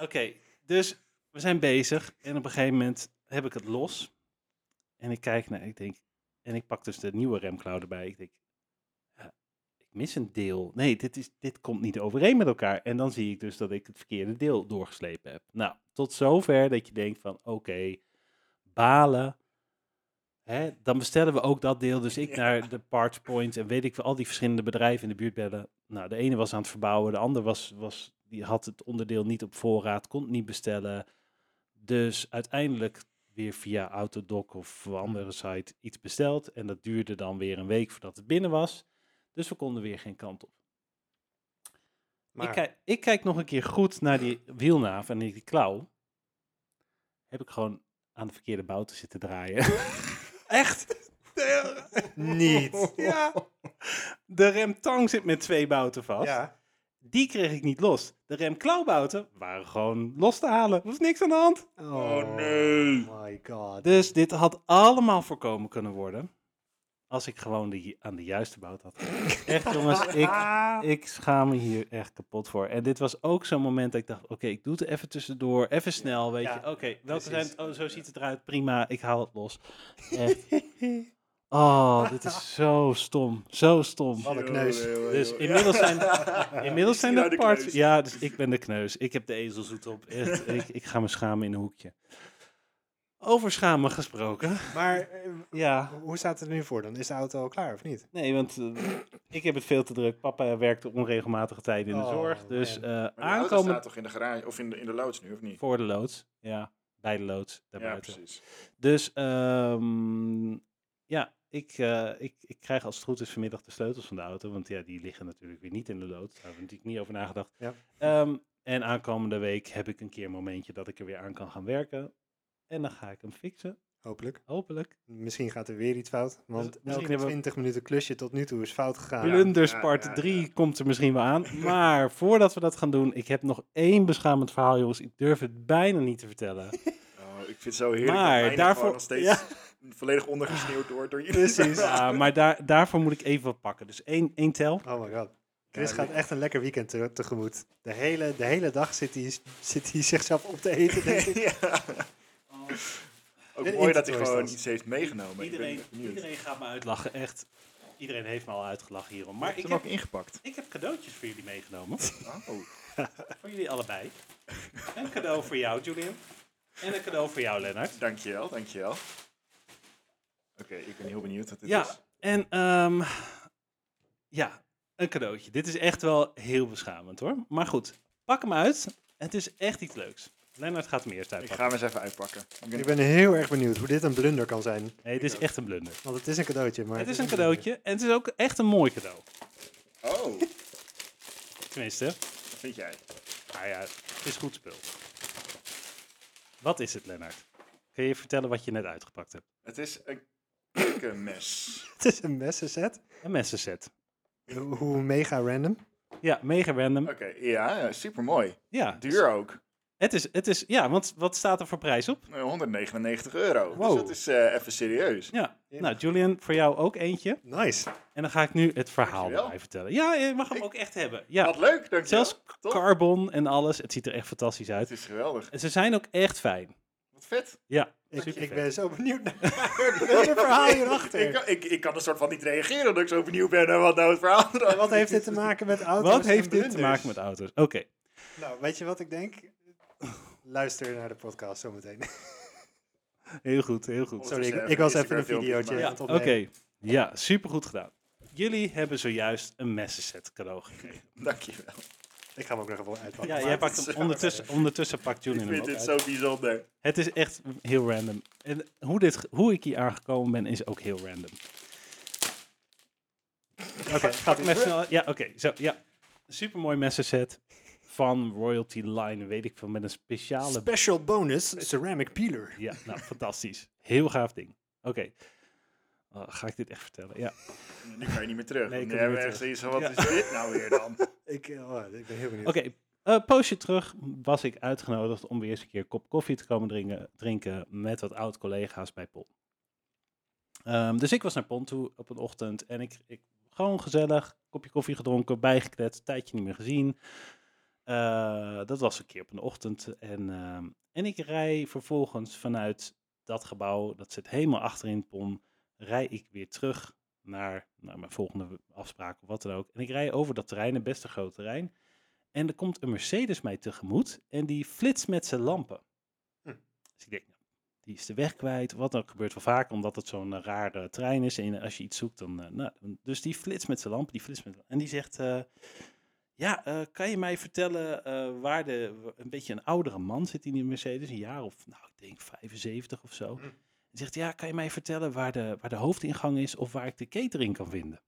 Speaker 2: Oké, dus we zijn bezig en op een gegeven moment heb ik het los. En ik kijk naar, ik denk, en ik pak dus de nieuwe remklauw erbij. Ik denk, ja, ik mis een deel. Nee, dit, is, dit komt niet overeen met elkaar. En dan zie ik dus dat ik het verkeerde deel doorgeslepen heb. Nou, tot zover dat je denkt van, oké, balen. Hè, dan bestellen we ook dat deel. Dus ik
Speaker 1: Ja.
Speaker 2: naar de Parts Point en weet ik wel, al die verschillende bedrijven in de buurt bellen. Nou, de ene was aan het verbouwen, de ander was, was, die had het onderdeel niet op voorraad, kon het niet bestellen. Dus uiteindelijk weer via Autodoc of een andere site iets besteld. En dat duurde dan weer een week voordat het binnen was. Dus we konden weer geen kant op.
Speaker 3: Maar
Speaker 2: Ik, kijk, ik kijk nog een keer goed naar die wielnaaf en die klauw. Heb ik gewoon aan de verkeerde bouten zitten draaien. [LAUGHS] Echt? [LAUGHS]
Speaker 3: niet.
Speaker 2: ja. De remtang zit met twee bouten vast.
Speaker 3: Ja.
Speaker 2: Die kreeg ik niet los. De remklauwbouten waren gewoon los te halen. Er was niks aan de hand.
Speaker 3: Oh,
Speaker 1: nee.
Speaker 3: my god.
Speaker 2: Dus dit had allemaal voorkomen kunnen worden. Als ik gewoon de, ju- aan de juiste bout [LAUGHS] had. gegeven. Echt jongens, ik, ik schaam me hier echt kapot voor. En dit was ook zo'n moment dat ik dacht, oké, ik doe het even tussendoor. Even snel, weet
Speaker 3: Ja,
Speaker 2: je. Oké, welke zijn
Speaker 3: precies.
Speaker 2: het? Oh, zo ziet het eruit. Prima, ik haal het los. [LAUGHS] Echt. Oh, dit is zo stom. Zo stom.
Speaker 3: Wat een kneus.
Speaker 2: Dus
Speaker 1: [LAUGHS]
Speaker 2: inmiddels zijn, inmiddels zijn
Speaker 1: nou
Speaker 2: de
Speaker 1: de
Speaker 2: parts...
Speaker 1: kneus.
Speaker 2: Ja, [LAUGHS] dus ik ben de kneus. Ik heb de ezelzoet op. Echt, ik, ik ga me schamen in een hoekje. Over schamen gesproken.
Speaker 3: Maar eh,
Speaker 2: Ja.
Speaker 3: hoe staat het er nu voor dan? Is de auto al klaar of niet?
Speaker 2: Nee, want eh, ik heb het veel te druk. Papa werkt op onregelmatige tijden in de
Speaker 3: Oh,
Speaker 2: zorg. Dus eh,
Speaker 3: man.
Speaker 1: Maar die auto staat
Speaker 2: aankomend
Speaker 1: toch in de garage of in de, in de loods nu, of niet?
Speaker 2: voor de loods. Ja, bij de loods.
Speaker 1: Ja,
Speaker 2: Daarbuiten.
Speaker 1: precies.
Speaker 2: Dus ehm, ja, ik, eh, ik, ik krijg als het goed is vanmiddag de sleutels van de auto. Want ja, die liggen natuurlijk weer niet in de lood. Daar hebben we natuurlijk niet over nagedacht.
Speaker 3: Ja.
Speaker 2: Ehm, en aankomende week heb ik een keer een momentje dat ik er weer aan kan gaan werken. En dan ga ik hem fixen,
Speaker 3: Hopelijk.
Speaker 2: hopelijk.
Speaker 3: Misschien gaat er weer iets fout. Want
Speaker 2: misschien
Speaker 3: elke
Speaker 2: hebben we-
Speaker 3: 20 minuten klusje tot nu toe is fout gegaan.
Speaker 1: Ah, Ja.
Speaker 2: Blunders
Speaker 1: ja,
Speaker 2: part
Speaker 1: ja,
Speaker 2: 3 komt er misschien wel
Speaker 1: [LAUGHS]
Speaker 2: aan. Maar voordat we dat gaan doen, ik heb nog één beschamend verhaal, jongens. Ik durf het bijna niet te
Speaker 1: [LAUGHS]
Speaker 2: vertellen.
Speaker 1: Oh, ik vind het zo heerlijk.
Speaker 2: Maar
Speaker 1: dat mijne
Speaker 2: daarvoor-
Speaker 1: gewoon nog steeds
Speaker 2: Ja.
Speaker 1: volledig ondergesneeuwd wordt door jullie. [LAUGHS]
Speaker 3: Precies.
Speaker 2: Ja, Ah, maar daar, daarvoor moet ik even wat pakken. Dus één, één tel.
Speaker 3: Oh my god. Chris
Speaker 1: Ja,
Speaker 3: gaat echt een lekker weekend te- tegemoet. De hele, de hele dag zit hij, zit hij zichzelf op te eten. denk
Speaker 2: [LAUGHS]
Speaker 3: ik.
Speaker 1: ja. Ook mooi
Speaker 3: En
Speaker 1: dat hij
Speaker 3: intertoys
Speaker 1: gewoon
Speaker 3: dan.
Speaker 1: iets heeft meegenomen.
Speaker 2: Iedereen,
Speaker 1: ik ben benieuwd.
Speaker 2: iedereen gaat me uitlachen, echt. Iedereen heeft me al uitgelachen hierom. Maar ik
Speaker 1: hem
Speaker 2: heb,
Speaker 1: ook ingepakt.
Speaker 2: ik heb cadeautjes voor jullie
Speaker 1: [LAUGHS]
Speaker 2: meegenomen.
Speaker 1: Oh.
Speaker 2: voor jullie allebei. Een cadeau voor jou, Julian. En een cadeau voor jou, Lennart.
Speaker 1: Dankjewel, dankjewel. Oké, ik ben heel benieuwd wat dit
Speaker 2: Ja,
Speaker 1: is.
Speaker 2: en ehm, ja, een cadeautje. Dit is echt wel heel beschamend hoor. Maar goed, pak hem uit. Het is echt iets leuks. Lennart gaat hem eerst
Speaker 1: Ik
Speaker 2: uitpakken.
Speaker 1: ga hem eens even uitpakken. Ik ben-
Speaker 3: Ik ben heel erg benieuwd hoe dit een blunder kan zijn.
Speaker 2: Nee, dit is echt een blunder.
Speaker 3: Want het is een cadeautje. Maar
Speaker 2: Het is een cadeautje en het is ook echt een mooi cadeau.
Speaker 1: Oh, wat
Speaker 2: Tenminste,
Speaker 1: vind jij?
Speaker 2: Nou ja, het is goed spul. Wat is het, Lennart? Kun je vertellen wat je net uitgepakt hebt?
Speaker 1: Het is een keukenmes.
Speaker 3: [LAUGHS] Het is een messenset.
Speaker 2: Een messenset.
Speaker 3: Hoe hoe mega random.
Speaker 2: Ja, mega random.
Speaker 1: Oké, ja, super mooi.
Speaker 2: Ja, dus
Speaker 1: Duur ook.
Speaker 2: Het is, het is, ja, want wat staat er voor prijs op?
Speaker 1: Eh, 199 euro.
Speaker 3: Wow.
Speaker 1: Dus dat is eh, even serieus.
Speaker 2: Ja,
Speaker 3: Ja.
Speaker 2: nou Julian, voor jou ook eentje.
Speaker 3: Nice.
Speaker 2: En dan ga ik nu het verhaal
Speaker 1: Dankjewel.
Speaker 2: erbij vertellen. Ja, je mag hem ook echt hebben. Ja,
Speaker 1: Wat leuk, dankjewel.
Speaker 2: zelfs
Speaker 1: Top.
Speaker 2: carbon en alles. Het ziet er echt fantastisch
Speaker 1: Het
Speaker 2: uit.
Speaker 1: is geweldig.
Speaker 2: En ze zijn ook echt fijn.
Speaker 1: Wat vet.
Speaker 2: Ja,
Speaker 3: Ik,
Speaker 2: super
Speaker 3: ik
Speaker 2: vet.
Speaker 3: ben zo benieuwd
Speaker 1: [LAUGHS]
Speaker 3: naar het verhaal
Speaker 1: Ik,
Speaker 3: hierachter.
Speaker 1: kan- ik, ik kan een soort van niet reageren omdat ik zo benieuwd ben naar wat nou het verhaal erachter
Speaker 3: Wat heeft dit
Speaker 1: is.
Speaker 3: te maken met auto's
Speaker 2: Wat
Speaker 3: en
Speaker 2: heeft dit te
Speaker 3: blunders?
Speaker 2: maken met auto's? Oké,
Speaker 3: Nou, weet je wat ik denk? Luister naar de podcast zometeen.
Speaker 2: heel goed, heel goed.
Speaker 1: Ondertussen
Speaker 3: Sorry, ik-
Speaker 1: even
Speaker 3: ik was
Speaker 1: een
Speaker 3: even een
Speaker 1: Instagram-filmpje
Speaker 3: videootje.
Speaker 2: Ja,
Speaker 3: aan het
Speaker 2: oké.
Speaker 3: opnemen.
Speaker 2: Ja, supergoed gedaan. Jullie hebben zojuist een messenset cadeau gekregen.
Speaker 1: [LAUGHS] Dankjewel.
Speaker 3: Ik ga hem ook nog even uitpakken.
Speaker 2: Ja,
Speaker 3: Maar
Speaker 2: jij
Speaker 3: het
Speaker 2: pakt
Speaker 3: is-
Speaker 2: hem ondertussen, ondertussen pakt
Speaker 1: Ik
Speaker 2: Julian hem
Speaker 1: vind
Speaker 2: ook
Speaker 1: dit
Speaker 2: uit.
Speaker 1: zo bijzonder.
Speaker 2: Het is echt heel random. En hoe, dit, ge- hoe ik hier aangekomen ben, is ook heel random.
Speaker 3: Oké, gaat
Speaker 2: Pak
Speaker 3: het
Speaker 2: hem even snel. Ja, oké. zo, ja. Supermooi messenset van Royalty Line, weet ik veel, met een speciale...
Speaker 3: Special bonus ceramic peeler.
Speaker 2: Ja, nou, fantastisch. Heel gaaf ding. Oké. Oh, ga ik dit echt vertellen? Ja.
Speaker 1: Nu kan je niet meer terug. Nee,
Speaker 2: Nee, ik
Speaker 1: ik nee,
Speaker 2: kan niet meer
Speaker 1: ergens
Speaker 2: terug.
Speaker 1: iets van, wat
Speaker 2: Ja.
Speaker 1: is dit nou weer
Speaker 2: [LAUGHS]
Speaker 1: dan?
Speaker 3: Ik, eh, oh, ik ben heel benieuwd.
Speaker 2: Oké, eh, poosje terug was ik uitgenodigd om weer eens een keer een kop koffie te komen drinken, drinken met wat oud-collega's bij Pon. Ehm, dus ik was naar Pon toe op een ochtend en ik, ik gewoon gezellig, kopje koffie gedronken, bijgekletst, tijdje niet meer gezien. Eh, dat was een keer op een ochtend. En, ehm, en ik rij vervolgens vanuit dat gebouw, dat zit helemaal achterin Pon, rij ik weer terug naar, naar mijn volgende afspraak of wat dan ook. En ik rij over dat terrein, een best een groot terrein. En er komt een Mercedes mij tegemoet en die flitst met zijn lampen.
Speaker 3: Hm.
Speaker 2: Dus ik denk, nou, die is de weg kwijt. Wat dan gebeurt wel vaak, omdat het zo'n eh, rare trein is. En als je iets zoekt, dan... eh, nou, dan- dus die flitst met zijn lampen, die flitst met En die zegt, eh, ja, eh, kan je mij vertellen eh, waar de... w- Een beetje een oudere man zit in die Mercedes, een jaar of, nou, ik denk 75 of zo.
Speaker 3: Hm.
Speaker 2: Die zegt, ja, kan je mij vertellen waar de, waar de hoofdingang is of waar ik de catering kan vinden?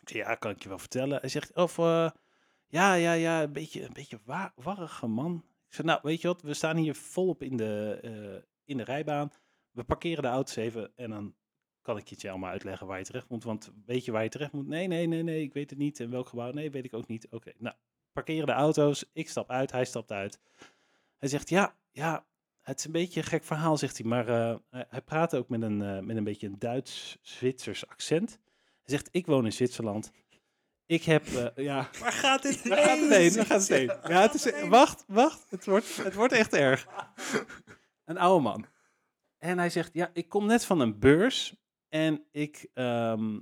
Speaker 2: Ik zeg, ja, kan ik je wel vertellen. Hij zegt, of... eh, ja, ja, ja, een beetje, een beetje wa warrige man. Ik zei, nou, weet je wat, we staan hier volop in de, eh, in de rijbaan. We parkeren de auto's even en dan kan ik je het je allemaal uitleggen waar je terecht moet. Want weet je waar je terecht moet? Nee, nee, nee, nee, ik weet het niet. En welk gebouw? Nee, weet ik ook niet. Oké, nou, parkeren de auto's. Ik stap uit, hij stapt uit. Hij zegt, ja, ja, het is een beetje een gek verhaal, zegt hij. Maar eh, hij- hij praat ook met een, eh, met een beetje een Duits-Zwitsers accent. Hij zegt, ik woon in Zwitserland. Ik heb, eh, ja...
Speaker 3: Waar gaat dit
Speaker 2: Daar gaat het heen, daar gaat het heen. Ja, het is, wacht, wacht, het wordt, het wordt echt erg. Een oude man. En hij zegt, ja, ik kom net van een beurs en ik, ehm,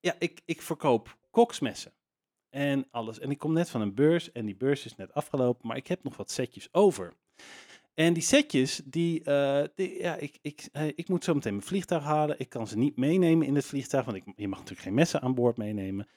Speaker 2: ja, ik, ik verkoop koksmessen en alles. En ik kom net van een beurs en die beurs is net afgelopen, maar ik heb nog wat setjes over. En die setjes, die, eh, die- ja, ik, ik, eh, ik moet zo meteen mijn vliegtuig halen. Ik kan ze niet meenemen in het vliegtuig, want ik, je mag natuurlijk geen messen aan boord meenemen.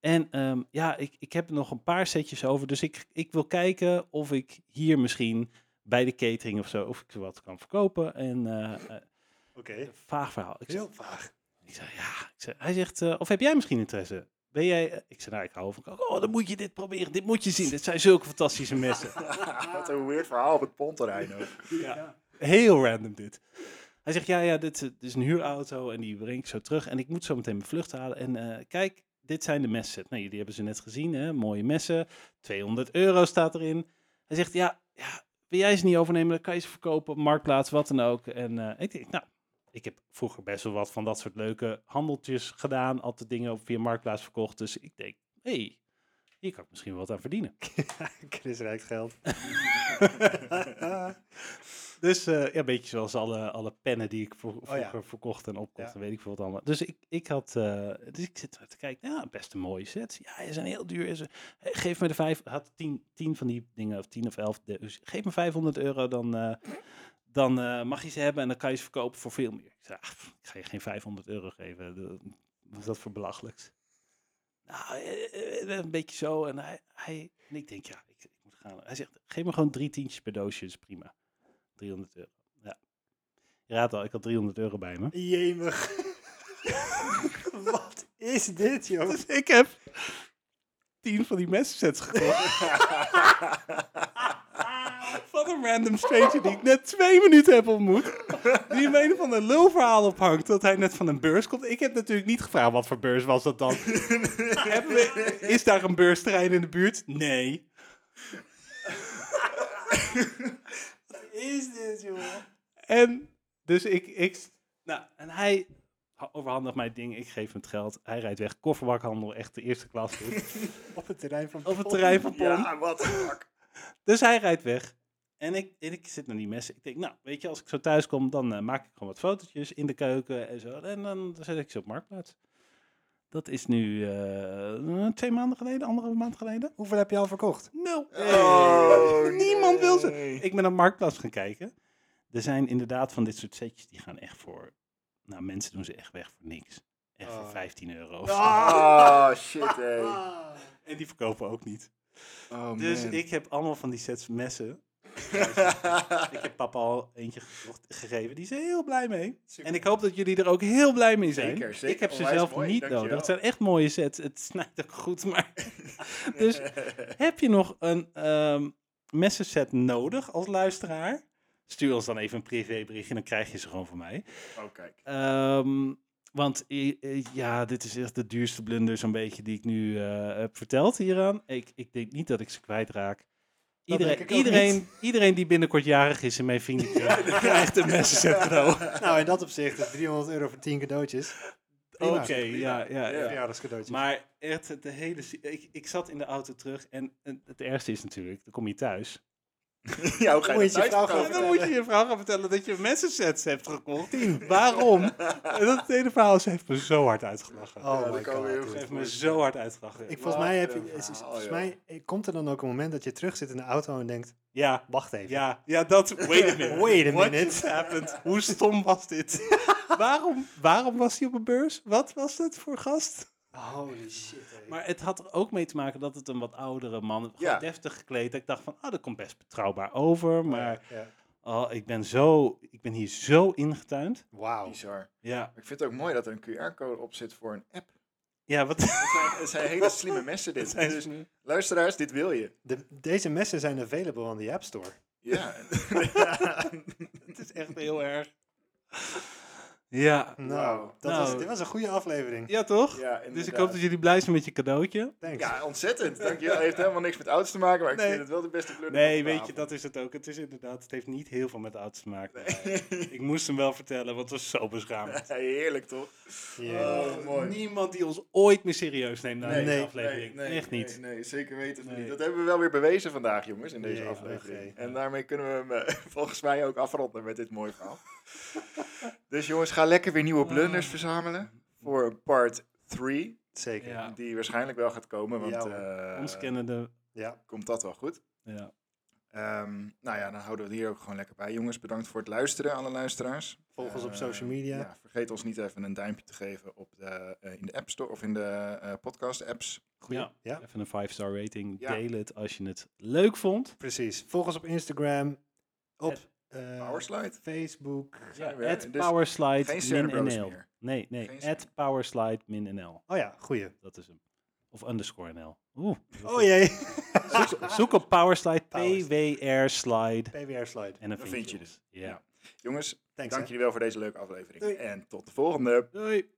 Speaker 2: En ehm, ja, ik, ik heb nog een paar setjes over, dus ik, ik wil kijken of ik hier misschien bij de catering of zo, of ik ze wat kan verkopen. En eh, eh,
Speaker 3: [LAUGHS] Oké.
Speaker 2: vaag verhaal. Ik zeg,
Speaker 3: Heel vaag.
Speaker 2: ik zei, ja. Ik zei, hij zegt, eh, of heb jij misschien interesse? Ben jij... eh, Ik zei, nou, ik hou van koken. Oh, dan moet je dit proberen. Dit moet je zien. Dit zijn zulke fantastische messen.
Speaker 1: Ah, Wat een weird verhaal op het ponterrein ook.
Speaker 2: Heel random dit. Hij zegt, ja, ja, dit, is- dit is een huurauto en die breng ik zo terug. En ik moet zo meteen mijn vlucht halen. En eh, kijk, dit zijn de messen. Nou, jullie hebben ze net gezien, hè. Mooie messen. 200 euro staat erin. Hij zegt, ja, ja wil jij ze niet overnemen? Dan kan je ze verkopen op Marktplaats, wat dan ook. En eh, ik denk, nou, ik heb vroeger best wel wat van dat soort leuke handeltjes gedaan. Altijd dingen op via Marktplaats verkocht. Dus ik denk, hé, hey, hier kan ik misschien wel wat aan verdienen.
Speaker 3: [LAUGHS] Chris rijdt
Speaker 2: [LAUGHS]
Speaker 3: geld.
Speaker 2: Dus eh, ja, een beetje zoals alle, alle pennen die ik vro-
Speaker 3: Oh, ja.
Speaker 2: vroeger verkocht en opkocht
Speaker 3: Ja.
Speaker 2: en weet ik veel wat allemaal. Dus ik, ik had, eh, dus ik zit te kijken, nou, best een mooie set. Ja, ze zijn heel duur. Is, geef me de vijf, had tien, tien van die dingen, of tien of elf. Dus geef me 500 euro, dan, eh, dan eh, mag je ze hebben en dan kan je ze verkopen voor veel meer. Ik zei, ah, pff, ik ga je geen 500 euro geven. De- Wat is dat voor belachelijks? Nou, eh, eh, een beetje zo. En, hij, hij, en ik denk, ja, ik, ik moet gaan. Hij zegt, geef me gewoon drie tientjes per doosje, dat is prima. 300 euro. Ja. Je raadt al, ik had 300 euro bij me.
Speaker 3: Jemig. [LAUGHS] Wat is dit, joh?
Speaker 2: Dus [LAUGHS] ik heb 10 van die messensets gekocht. [LAUGHS] van een random stranger die ik net twee minuten heb ontmoet. Die me een van een lulverhaal ophangt dat hij net van een beurs komt. Ik heb natuurlijk niet gevraagd wat voor beurs was [LAUGHS] dat dan. Hebben we- is daar een beursterrein in de buurt? Nee.
Speaker 3: Is dit, joh?
Speaker 2: En dus ik, ik nou, en hij ha- overhandigt mij dingen, ik geef hem het geld. Hij rijdt weg, kofferbakhandel, echt de eerste klas. [LAUGHS]
Speaker 3: Op het terrein van...
Speaker 2: Op het terrein van Pom.
Speaker 1: Ja, wat een fuck.
Speaker 2: Dus hij rijdt weg. En ik, en ik zit naar die messen. Ik denk, nou, weet je, als ik zo thuis kom, dan eh, maak ik gewoon wat fotootjes in de keuken en zo. En dan zet ik ze op Marktplaats. Dat is nu eh, twee maanden geleden, anderhalve maand geleden.
Speaker 3: Hoeveel heb je al verkocht?
Speaker 2: Nul.
Speaker 1: Oh,
Speaker 2: [LAUGHS] Niemand wil ze.
Speaker 1: nee.
Speaker 2: Ik ben op Marktplaats gaan kijken. Er zijn inderdaad van dit soort setjes, die gaan echt voor... Nou, mensen doen ze echt weg voor niks. Echt voor
Speaker 3: Oh.
Speaker 2: 15 euro. of zo.
Speaker 1: Oh, shit, hé.
Speaker 2: En die verkopen ook niet.
Speaker 1: Oh,
Speaker 2: Dus
Speaker 1: man.
Speaker 2: ik heb allemaal van die sets
Speaker 1: [LAUGHS]
Speaker 2: messen. Ik heb papa al eentje gekocht- gegeven. Die is er heel blij mee.
Speaker 3: Super.
Speaker 2: [LAUGHS] En ik hoop dat jullie er ook heel blij mee zijn.
Speaker 1: Zeker, zeker.
Speaker 2: Ik heb ze
Speaker 1: Onwijs
Speaker 2: zelf
Speaker 1: mooi,
Speaker 2: niet
Speaker 1: dankjewel.
Speaker 2: nodig. Het zijn echt mooie sets. Het snijdt ook goed,
Speaker 1: [LAUGHS]
Speaker 2: maar... [LAUGHS] dus
Speaker 1: Oh,
Speaker 2: heb je nog een ehm messenset nodig als luisteraar? Stuur ons dan even een privéberichtje, dan krijg je ze gewoon van mij.
Speaker 1: Oh,
Speaker 2: [LAUGHS]
Speaker 1: kijk.
Speaker 2: Ehm, want i- i- ja, dit is echt de duurste blunder zo'n beetje die ik nu eh, heb verteld hieraan. Ik, ik denk niet dat ik ze kwijtraak.
Speaker 3: Dat
Speaker 2: Iedereen,
Speaker 3: denk ik ook
Speaker 2: iedereen, iedereen die binnenkort jarig is in mijn vriendenkring krijgt een messenset cadeau.
Speaker 3: Nou, in dat opzicht is 300 euro voor 10 cadeautjes.
Speaker 2: Oké,
Speaker 3: Prima.
Speaker 2: ja, ja, ja.
Speaker 3: Verjaardagscadeautjes.
Speaker 2: Maar echt, de hele... si- Ik, ik zat in de auto terug en en het ergste is natuurlijk, dan kom je thuis.
Speaker 1: Ja, hoe ga je
Speaker 3: Moet
Speaker 1: dat
Speaker 3: je vrouw
Speaker 1: thuis
Speaker 3: gaan
Speaker 2: En
Speaker 1: verkopen?
Speaker 2: dan moet je je vrouw gaan vertellen dat je messensets hebt gekocht. Waarom? En dat hele verhaal, ze heeft me zo hard uitgelachen.
Speaker 3: Oh
Speaker 1: Ja,
Speaker 3: my
Speaker 1: dat kan weer
Speaker 3: god.
Speaker 1: goed.
Speaker 2: Ze heeft me zo hard uitgelachen.
Speaker 3: Ik, volgens mij, heb je,
Speaker 1: Wat een
Speaker 3: is- is-
Speaker 1: verhaal,
Speaker 3: volgens
Speaker 1: joh.
Speaker 3: mij eh, komt er dan ook een moment dat je terug zit in de auto en denkt,
Speaker 2: Ja,
Speaker 3: wacht even.
Speaker 2: ja, ja, dat... Wait a minute.
Speaker 3: Wait a
Speaker 2: What
Speaker 3: minute.
Speaker 2: just happened? Hoe stom was dit? waarom, waarom was hij op een beurs? Wat was dat voor gast?
Speaker 3: Holy shit. hé.
Speaker 2: Maar het had er ook mee te maken dat het een wat oudere man, gewoon
Speaker 1: Ja.
Speaker 2: deftig gekleed. dat Ik dacht van, ah, dat komt best betrouwbaar over. Maar
Speaker 3: Ja.
Speaker 2: oh, ik, ben zo, ik ben hier zo ingetuind.
Speaker 3: Wauw.
Speaker 1: Bizar.
Speaker 2: Ja,
Speaker 1: Ik vind het ook mooi dat er een QR-code op zit voor een
Speaker 2: [LAUGHS]
Speaker 1: app.
Speaker 2: ja wat
Speaker 1: Het zijn, het zijn hele slimme messen [LAUGHS] dit.
Speaker 2: [LAUGHS] zijn
Speaker 1: Dus
Speaker 2: ze nu?
Speaker 1: luisteraars, dit wil je.
Speaker 3: De- deze messen zijn available on the App Store.
Speaker 2: [LAUGHS]
Speaker 1: Ja. [LAUGHS]
Speaker 2: Dus Het is echt heel erg. Ja,
Speaker 3: Nou,
Speaker 1: Wauw.
Speaker 3: dat
Speaker 2: Nou.
Speaker 3: Was, dit was een goede aflevering.
Speaker 2: ja toch?
Speaker 1: Ja,
Speaker 2: dus ik
Speaker 1: inderdaad.
Speaker 2: hoop dat jullie blij zijn met je cadeautje.
Speaker 3: Thanks.
Speaker 1: ja, ontzettend. Dankjewel. Het heeft helemaal niks met auto's te maken, maar ik
Speaker 2: Nee.
Speaker 1: vind het wel de beste blunder.
Speaker 2: Nee,
Speaker 1: van de
Speaker 2: weet je,
Speaker 1: avond.
Speaker 2: dat is het ook. Het is inderdaad, het heeft niet heel veel met de auto's te maken. Ik moest hem wel vertellen, want het was zo beschamend.
Speaker 1: Ja, [LAUGHS] heerlijk, toch?
Speaker 3: Yeah.
Speaker 1: Oh, mooi.
Speaker 2: Niemand die ons ooit meer serieus neemt na
Speaker 1: Nee,
Speaker 2: deze
Speaker 3: nee,
Speaker 2: aflevering. Echt niet.
Speaker 1: Nee, nee, zeker weten we
Speaker 2: Nee.
Speaker 1: niet. Dat hebben we wel weer bewezen vandaag, jongens, in deze
Speaker 3: Jee,
Speaker 1: aflevering.
Speaker 3: oké.
Speaker 1: En daarmee kunnen we hem eh, [LAUGHS] volgens mij ook afronden met dit mooie verhaal. [LAUGHS] dus jongens, ga lekker weer nieuwe blunders
Speaker 2: Ah.
Speaker 1: verzamelen voor part 3,
Speaker 3: Zeker. Ja.
Speaker 2: Ja.
Speaker 1: die waarschijnlijk wel gaat komen, want
Speaker 3: Ja, hoor.
Speaker 1: eh,
Speaker 2: Ons kennende.
Speaker 1: komt dat wel goed.
Speaker 2: Ja.
Speaker 1: Ehm, nou ja, dan houden we het hier ook gewoon lekker bij. Jongens, bedankt voor het luisteren, alle luisteraars.
Speaker 3: Volg ons op
Speaker 1: Eh,
Speaker 3: social media.
Speaker 1: ja, vergeet ons niet even een duimpje te geven op de, eh, in de App Store of in de eh, podcast apps.
Speaker 2: Goed. Ja.
Speaker 3: Ja.
Speaker 2: Even een 5-star rating.
Speaker 1: Ja.
Speaker 2: Deel het als je het leuk vond.
Speaker 3: Precies. Volg ons op Instagram, op
Speaker 2: Het
Speaker 3: eh, [LAUGHS]
Speaker 1: Powerslide.
Speaker 3: Facebook.
Speaker 1: Zijn we-
Speaker 2: Het
Speaker 1: dus
Speaker 2: Powerslide
Speaker 1: geen
Speaker 2: min
Speaker 1: Cerebros
Speaker 2: NL.
Speaker 1: meer.
Speaker 2: Nee, nee.
Speaker 1: Geen
Speaker 2: Het Powerslide min NL.
Speaker 3: Oh ja, goeie.
Speaker 2: Dat is hem. Of underscore NL. Oeh.
Speaker 3: Oh [LAUGHS] jee.
Speaker 2: Zoek, zoek op Powerslide.
Speaker 3: Powerslide.
Speaker 2: PWR slide.
Speaker 3: PWR slide.
Speaker 2: En dan
Speaker 1: Dan
Speaker 2: vind
Speaker 1: vind
Speaker 2: je
Speaker 1: je
Speaker 2: dus. Ja.
Speaker 1: Jongens,
Speaker 3: Thanks.
Speaker 1: dank
Speaker 3: hè.
Speaker 1: jullie wel voor deze leuke aflevering.
Speaker 3: Doei.
Speaker 1: En tot de volgende.
Speaker 2: Doei.